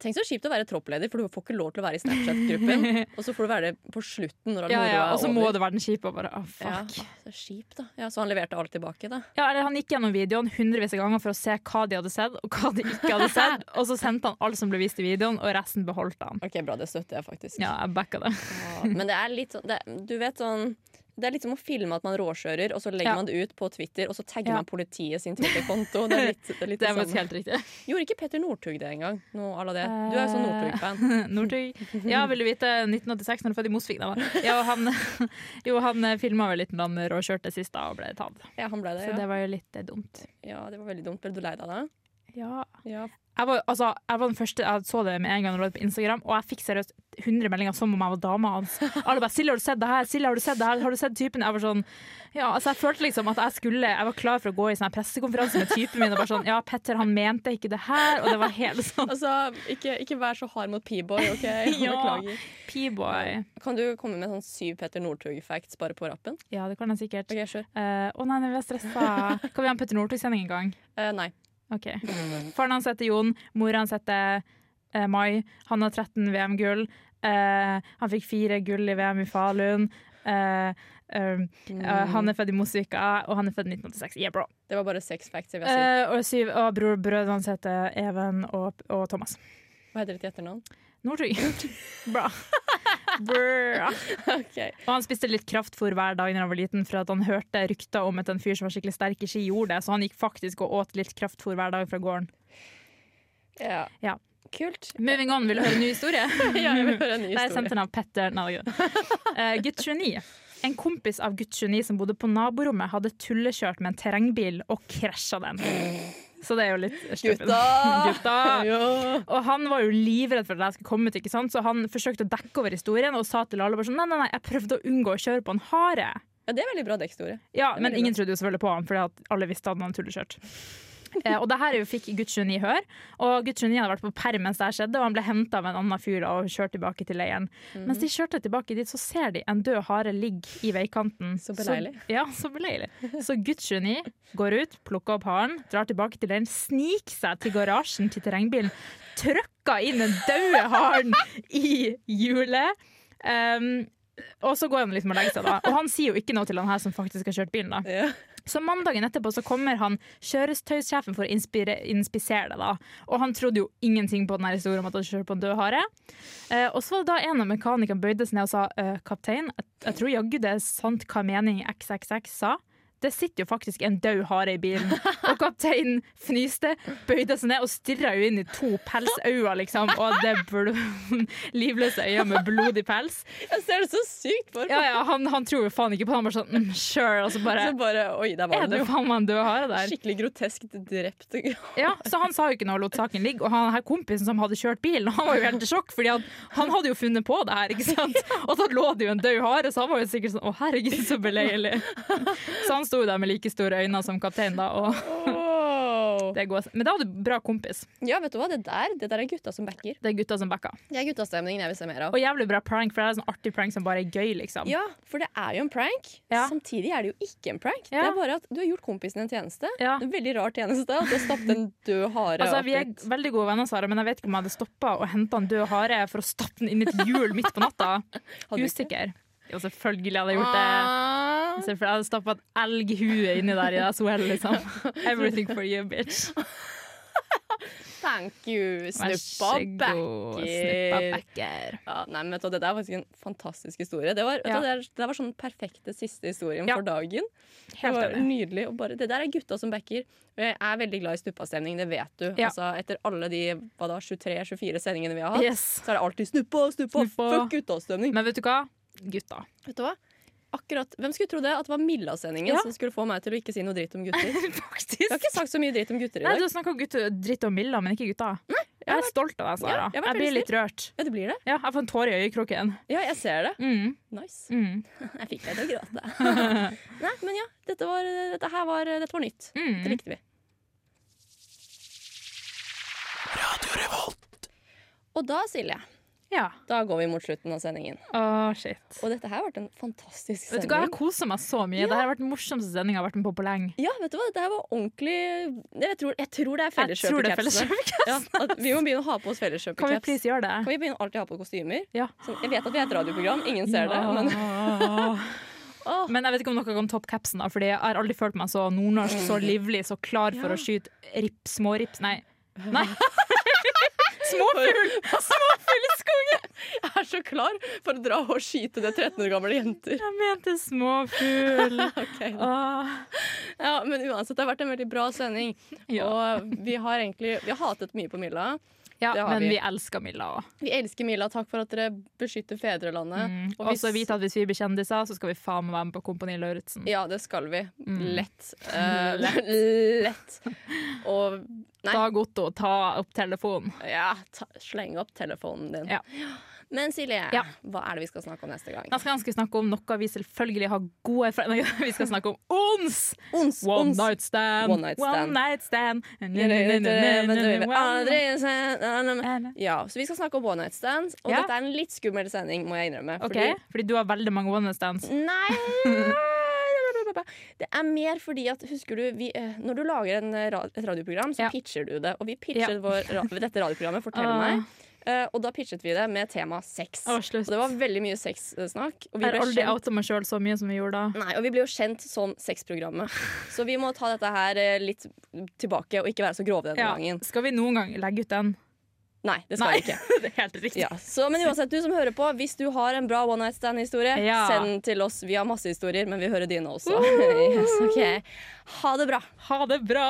[SPEAKER 1] Tenk så kjipt å være troppleder, for du får ikke lov til å være i Snapchat-gruppen.
[SPEAKER 4] [laughs]
[SPEAKER 1] Og så får du være det på slutten når all
[SPEAKER 4] Ja,
[SPEAKER 1] moroa
[SPEAKER 4] ja,
[SPEAKER 1] er
[SPEAKER 4] og så
[SPEAKER 1] over.
[SPEAKER 4] må det være den kjipe. og Bare, «Å,
[SPEAKER 1] Ja,
[SPEAKER 4] fuck.
[SPEAKER 1] så kjipt, da. Ja, så han leverte alt tilbake, da.
[SPEAKER 4] Ja, eller han gikk gjennom videoen hundrevis av ganger for å se hva de hadde sett, og hva de ikke hadde
[SPEAKER 1] [laughs]
[SPEAKER 4] sett. Og så sendte han alt som ble vist i videoen, og resten beholdt han.
[SPEAKER 1] Ok, bra, det støtter jeg faktisk.
[SPEAKER 4] Ja, jeg
[SPEAKER 1] [laughs]
[SPEAKER 4] backa det.
[SPEAKER 1] Ja, Men det er litt sånn det, Du vet sånn det er litt som å filme at man råkjører, og så legger
[SPEAKER 4] Ja.
[SPEAKER 1] man det ut på Twitter, og så tagger
[SPEAKER 4] Ja.
[SPEAKER 1] man politiet sin Twitter-konto. Det er litt det, er litt
[SPEAKER 4] [laughs] Det
[SPEAKER 1] det
[SPEAKER 4] er faktisk
[SPEAKER 1] samme.
[SPEAKER 4] helt riktig.
[SPEAKER 1] Gjorde ikke Petter Northug det engang? Noe à la det. Du er jo
[SPEAKER 4] Eh.
[SPEAKER 1] sånn Northug-fan.
[SPEAKER 4] [laughs] Northug. Ja, vil du vite 1986, når du født i Mosvik, da. da. Ja, og han, [laughs] jo, han filma vel litt når han råkjørte sist da og ble tatt.
[SPEAKER 1] Ja, han ble det.
[SPEAKER 4] Så
[SPEAKER 1] Ja.
[SPEAKER 4] det var jo litt eh, dumt.
[SPEAKER 1] ja, det var veldig dumt. Ble du lei deg da?
[SPEAKER 4] Ja.
[SPEAKER 1] Ja.
[SPEAKER 4] Jeg var, altså, jeg var den første Jeg så det med en gang det lå ut på Instagram, og jeg fikk seriøst 100 meldinger som om jeg var dama hans. Alle bare 'Silje, har du sett det her? Silje, har du sett det her? Har du sett typen?' Jeg var sånn Ja, altså, jeg følte liksom at jeg skulle Jeg var klar for å gå i sånn her pressekonferanse med typen min og bare sånn 'Ja, Petter, han mente ikke det her', og det var helt sånn
[SPEAKER 1] Altså, ikke, ikke vær så hard mot P-boy,
[SPEAKER 4] [laughs]
[SPEAKER 1] OK? Beklager.
[SPEAKER 4] P-boy.
[SPEAKER 1] Kan du komme med sånn syv Petter Northug-facts bare på rappen?
[SPEAKER 4] Ja, det kan jeg sikkert. Eh, Å
[SPEAKER 1] OK, kjør.
[SPEAKER 4] nei, nei, vi er stressa. Kan vi ha en Petter Northug-sending en gang?
[SPEAKER 1] Eh, nei.
[SPEAKER 4] OK. Faren hans heter Jon, mora hans heter eh, Mai. Han har 13 VM-gull. Eh, han fikk fire gull i VM i Falun. Eh, eh, eh, han er født i Mosvika, og han er født i 1986. Yeah, bro.
[SPEAKER 1] Det var bare seks facts. Jeg vil si.
[SPEAKER 4] Eh, og syv, og bror, brødrene hans heter Even og, og Thomas.
[SPEAKER 1] Hva heter det til etternavn? [laughs]
[SPEAKER 4] Northug. Bra. Bra.
[SPEAKER 1] Ok.
[SPEAKER 4] Og han spiste litt kraftfôr hver dag da han var liten, for at han hørte rykter om at en fyr som var skikkelig sterk i ski, gjorde det, så han gikk faktisk og åt litt kraftfôr hver dag fra gården.
[SPEAKER 1] Ja.
[SPEAKER 4] Ja. [laughs]
[SPEAKER 1] Kult. [laughs]
[SPEAKER 4] Moving on, vil du høre en ny historie?
[SPEAKER 1] Ja, jeg vil høre en ny
[SPEAKER 4] Nei, jeg
[SPEAKER 1] historie.
[SPEAKER 4] sendte den av Petter. Nei, det var
[SPEAKER 1] [laughs]
[SPEAKER 4] gøy. Eh, gutt 29. En kompis av gutt 29 som bodde på naborommet, hadde tullekjørt med en terrengbil og krasja den. Så det er jo litt stupid.
[SPEAKER 1] Gutta!
[SPEAKER 4] Gutta!
[SPEAKER 1] [laughs] Ja.
[SPEAKER 4] Og han var [laughs] jo livredd for at jeg skulle komme ut, ikke sant? så han forsøkte å dekke over historien og sa til alle bare sånn nei, nei, nei, jeg prøvde å unngå å kjøre på en hare.
[SPEAKER 1] ja, det er veldig bra dekkhistorie. Det
[SPEAKER 4] Ja,
[SPEAKER 1] er
[SPEAKER 4] men
[SPEAKER 1] veldig
[SPEAKER 4] ingen
[SPEAKER 1] bra.
[SPEAKER 4] trodde jo selvfølgelig på han, fordi at alle visste at
[SPEAKER 1] [laughs]
[SPEAKER 4] han tullekjørt. Eh, og det her jo fikk gutt 29 hør, og gutt 29 hadde vært på perm mens det her skjedde, og han ble henta av en annen fyr og kjørt tilbake til leiren.
[SPEAKER 1] Mhm.
[SPEAKER 4] Mens de kjørte tilbake dit, så ser de en død hare ligge i veikanten.
[SPEAKER 1] Så beleilig.
[SPEAKER 4] Så, [laughs] ja, så beleilig. Så gutt 29 går ut, plukker opp haren, drar tilbake til leiren, sniker seg til garasjen til terrengbilen, trykker inn den døde haren i hjulet. Um, og så går han liksom og legger seg, da. Og han sier jo ikke noe til han her som faktisk har kjørt bilen, da.
[SPEAKER 1] Ja.
[SPEAKER 4] Så mandagen etterpå så kommer han kjøretøysjefen for å inspire, inspisere det, da. Og han trodde jo ingenting på den her historien om at han kjører på en død hare. Eh, og så var det da en av mekanikerne bøyde seg ned og sa «Eh, kaptein, jeg, jeg tror jaggu det er sant hva mening XXX sa. Det sitter jo faktisk en død hare i bilen. Og kapteinen fnyste, bøyde seg ned og stirra jo inn i to pelsøyne, liksom. Og det bl [laughs] livløse øyne med blodig pels.
[SPEAKER 1] Jeg ser det så sykt for meg.
[SPEAKER 4] Ja, ja, han, han tror jo faen ikke på det. Han bare sånn mm, sure, og så bare
[SPEAKER 1] Så bare, oi, der var
[SPEAKER 4] er det
[SPEAKER 1] den jo.
[SPEAKER 4] faen meg en død hare der?
[SPEAKER 1] Skikkelig groteskt drept.
[SPEAKER 4] Ja, så han sa jo ikke noe og lot saken ligge. Og han her kompisen som hadde kjørt bilen, han var jo helt i sjokk, Fordi han, han hadde jo funnet på det her, ikke sant. Og så lå det jo en død hare, så han var jo sikkert sånn å herregud, så beleilig. Så han sto jo der med like store øyne som kapteinen da, og
[SPEAKER 1] Wow.
[SPEAKER 4] Det går, men da hadde du bra kompis.
[SPEAKER 1] Ja, vet du hva? Det der, det der er gutta som backer.
[SPEAKER 4] Det er gutta som backer.
[SPEAKER 1] Det er guttastemningen jeg vil se mer av.
[SPEAKER 4] Og jævlig bra prank, for det er sånn artig prank som bare er gøy, liksom.
[SPEAKER 1] Ja, for det er jo en prank.
[SPEAKER 4] Ja.
[SPEAKER 1] Samtidig er det jo ikke en prank. Det
[SPEAKER 4] Ja.
[SPEAKER 1] er bare at du har gjort kompisen en tjeneste.
[SPEAKER 4] Ja.
[SPEAKER 1] En veldig rar tjeneste. At du har stappet en død hare
[SPEAKER 4] Altså,
[SPEAKER 1] opp
[SPEAKER 4] vi
[SPEAKER 1] i
[SPEAKER 4] er
[SPEAKER 1] et-
[SPEAKER 4] veldig gode venner, Sara, men jeg vet ikke om jeg hadde stoppa og henta en død hare for å stappe den inn i et hjul midt på natta.
[SPEAKER 1] [laughs] Hadde du ikke?
[SPEAKER 4] Usikker. Jo, selvfølgelig hadde jeg gjort det.
[SPEAKER 1] Ah.
[SPEAKER 4] Selvfølgelig hadde jeg stappa et elghue inni der i SOL,
[SPEAKER 1] [laughs]
[SPEAKER 4] liksom. Everything for you, bitch.
[SPEAKER 1] Thank you,
[SPEAKER 4] Vær
[SPEAKER 1] [laughs] snuppa
[SPEAKER 4] så god, snuppa
[SPEAKER 1] backer.
[SPEAKER 4] backer.
[SPEAKER 1] Ja, nei, men vet du, hva, Det der er faktisk en fantastisk historie. Det var, vet du,
[SPEAKER 4] Ja.
[SPEAKER 1] hva, det er- det der var sånn den perfekte siste historien
[SPEAKER 4] Ja.
[SPEAKER 1] for dagen. Det
[SPEAKER 4] Helt
[SPEAKER 1] var
[SPEAKER 4] enig.
[SPEAKER 1] nydelig. Og bare, det der er gutta som backer. Og Jeg er veldig glad i stuppastemning, det vet du.
[SPEAKER 4] Ja.
[SPEAKER 1] Altså, etter alle de 23-24 sendingene vi har hatt,
[SPEAKER 4] Yes.
[SPEAKER 1] så er det alltid snuppa, snuppa,
[SPEAKER 4] Snuppa.
[SPEAKER 1] fuck guttastemning.
[SPEAKER 4] Men vet du hva?
[SPEAKER 1] [laughs]
[SPEAKER 4] Gutta.
[SPEAKER 1] Vet du hva? Akkurat, Hvem skulle tro det? At det var Milla-sendingen
[SPEAKER 4] Ja.
[SPEAKER 1] som skulle få meg til å ikke si noe dritt om gutter. Jeg har
[SPEAKER 4] Faktisk.
[SPEAKER 1] ikke sagt så mye dritt om gutter i
[SPEAKER 4] Nei,
[SPEAKER 1] dag.
[SPEAKER 4] du snakker gutter dritt om Milla, men ikke gutta. Jeg er stolt av deg, Sara.
[SPEAKER 1] Ja, jeg har vært
[SPEAKER 4] Jeg blir
[SPEAKER 1] veldig
[SPEAKER 4] litt rørt.
[SPEAKER 1] Ja, det blir det.
[SPEAKER 4] Ja, jeg får en tåre i øyekroken.
[SPEAKER 1] Ja, jeg ser det.
[SPEAKER 4] Mm.
[SPEAKER 1] Nice.
[SPEAKER 4] Mm.
[SPEAKER 1] [laughs] Jeg fikk deg til å
[SPEAKER 4] [laughs]
[SPEAKER 1] gråte. Nei, men ja. Dette var, dette her var, dette var nytt.
[SPEAKER 4] Mm.
[SPEAKER 1] Det likte vi. Og da, Silje,
[SPEAKER 4] Ja.
[SPEAKER 1] da går vi mot slutten av sendingen.
[SPEAKER 4] Å, shit.
[SPEAKER 1] Og dette her ble en fantastisk
[SPEAKER 4] Vet du hva,
[SPEAKER 1] sending.
[SPEAKER 4] Jeg koser meg så mye. Dette har vært den morsomste sendinga jeg har vært med på på lenge.
[SPEAKER 1] Ja, vet du hva? Dette her var ordentlig Jeg tror, jeg tror det er
[SPEAKER 4] Jeg tror det er
[SPEAKER 1] felleskjøpecapsene. [laughs]
[SPEAKER 4] felleskjøpet.
[SPEAKER 1] Ja, at vi må begynne å ha på oss
[SPEAKER 4] Kan vi
[SPEAKER 1] felleskjøpecaps.
[SPEAKER 4] please gjøre
[SPEAKER 1] Kan
[SPEAKER 4] det?
[SPEAKER 1] vi begynne å alltid ha på kostymer?
[SPEAKER 4] Ja.
[SPEAKER 1] Sånn, jeg vet at vi er et radioprogram, ingen ser det. Men, Åh.
[SPEAKER 4] Men jeg vet ikke om noe om Top Capsen, da, Fordi jeg har aldri følt meg så nordnorsk, så livlig, så klar for å skyte rip, smårips Nei. Nei.
[SPEAKER 1] [laughs]
[SPEAKER 4] Småfugl! Småfugl i skogen!
[SPEAKER 1] jeg er så klar for å dra og skyte det 13 år gamle jenter.
[SPEAKER 4] Jeg mente småfugl.
[SPEAKER 1] [laughs] Ok.
[SPEAKER 4] Åh.
[SPEAKER 1] Ja, men uansett, det har vært en veldig bra sending.
[SPEAKER 4] Ja.
[SPEAKER 1] Og vi har egentlig vi har hatet mye på Milla.
[SPEAKER 4] Ja,
[SPEAKER 1] Det har
[SPEAKER 4] men
[SPEAKER 1] vi.
[SPEAKER 4] vi elsker Milla òg.
[SPEAKER 1] Vi elsker Milla. Takk for at dere beskytter fedrelandet.
[SPEAKER 4] Og
[SPEAKER 1] hvis-
[SPEAKER 4] så vite at hvis vi blir kjendiser, så skal vi faen meg være med på Kompani Lauritzen.
[SPEAKER 1] Ja, det skal vi. [laughs] Lett. Eh,
[SPEAKER 4] Lett.
[SPEAKER 1] Mm. lett. Og nei,
[SPEAKER 4] Dag Otto, ta opp telefonen.
[SPEAKER 1] ja, ta, sleng opp telefonen din.
[SPEAKER 4] Ja.
[SPEAKER 1] Men Silje,
[SPEAKER 4] Ja.
[SPEAKER 1] hva er det vi skal snakke om neste gang?
[SPEAKER 4] Neste gang skal vi snakke om noe vi selvfølgelig har gode erfaringer med. [laughs] Vi skal snakke om ons!
[SPEAKER 1] Ons,
[SPEAKER 4] One
[SPEAKER 1] ons.
[SPEAKER 4] night stand.
[SPEAKER 1] One night stand.
[SPEAKER 4] One night
[SPEAKER 1] [laughs]
[SPEAKER 4] stand.
[SPEAKER 1] Nei, nei, nei, nei, nei, nei,
[SPEAKER 4] One night-
[SPEAKER 1] aldri se- nei, nei, nei.
[SPEAKER 4] Nei, nei.
[SPEAKER 1] Ja, så vi skal snakke om one night stands, og
[SPEAKER 4] Ja.
[SPEAKER 1] dette er en litt skummel sending, må jeg innrømme.
[SPEAKER 4] Ok, Fordi du har veldig mange one night stands.
[SPEAKER 1] Fordi
[SPEAKER 4] [laughs]
[SPEAKER 1] Nei Det er mer fordi at, husker du, vi, eh, når du lager en, eh, ra- et radioprogram, så
[SPEAKER 4] Ja.
[SPEAKER 1] pitcher du det. Og vi pitchet vår, ra dette radioprogrammet, fortell
[SPEAKER 4] Ah.
[SPEAKER 1] meg. Eh, og da pitchet vi det med tema sex.
[SPEAKER 4] Å,
[SPEAKER 1] og
[SPEAKER 4] slutt.
[SPEAKER 1] det var veldig mye sexsnakk. Og vi
[SPEAKER 4] Jeg
[SPEAKER 1] ble
[SPEAKER 4] har aldri
[SPEAKER 1] kjent-
[SPEAKER 4] outa meg sjøl så mye som jeg gjorde da.
[SPEAKER 1] Nei, og vi blir jo kjent som
[SPEAKER 4] [laughs]
[SPEAKER 1] sexprogrammet. Så vi må ta dette her eh, litt tilbake, og ikke være så grove denne
[SPEAKER 4] Ja.
[SPEAKER 1] gangen.
[SPEAKER 4] Skal vi noen gang legge ut den?
[SPEAKER 1] Nei, det skal
[SPEAKER 4] Nei.
[SPEAKER 1] vi ikke.
[SPEAKER 4] [laughs] Det er helt riktig.
[SPEAKER 1] Ja, så, men uansett, du som hører på, hvis du har en bra one night stand-historie,
[SPEAKER 4] Ja.
[SPEAKER 1] send den til oss. Vi har [laughs] masse historier, men vi hører dine også. yes, ok. Ha det bra.
[SPEAKER 4] Ha det bra!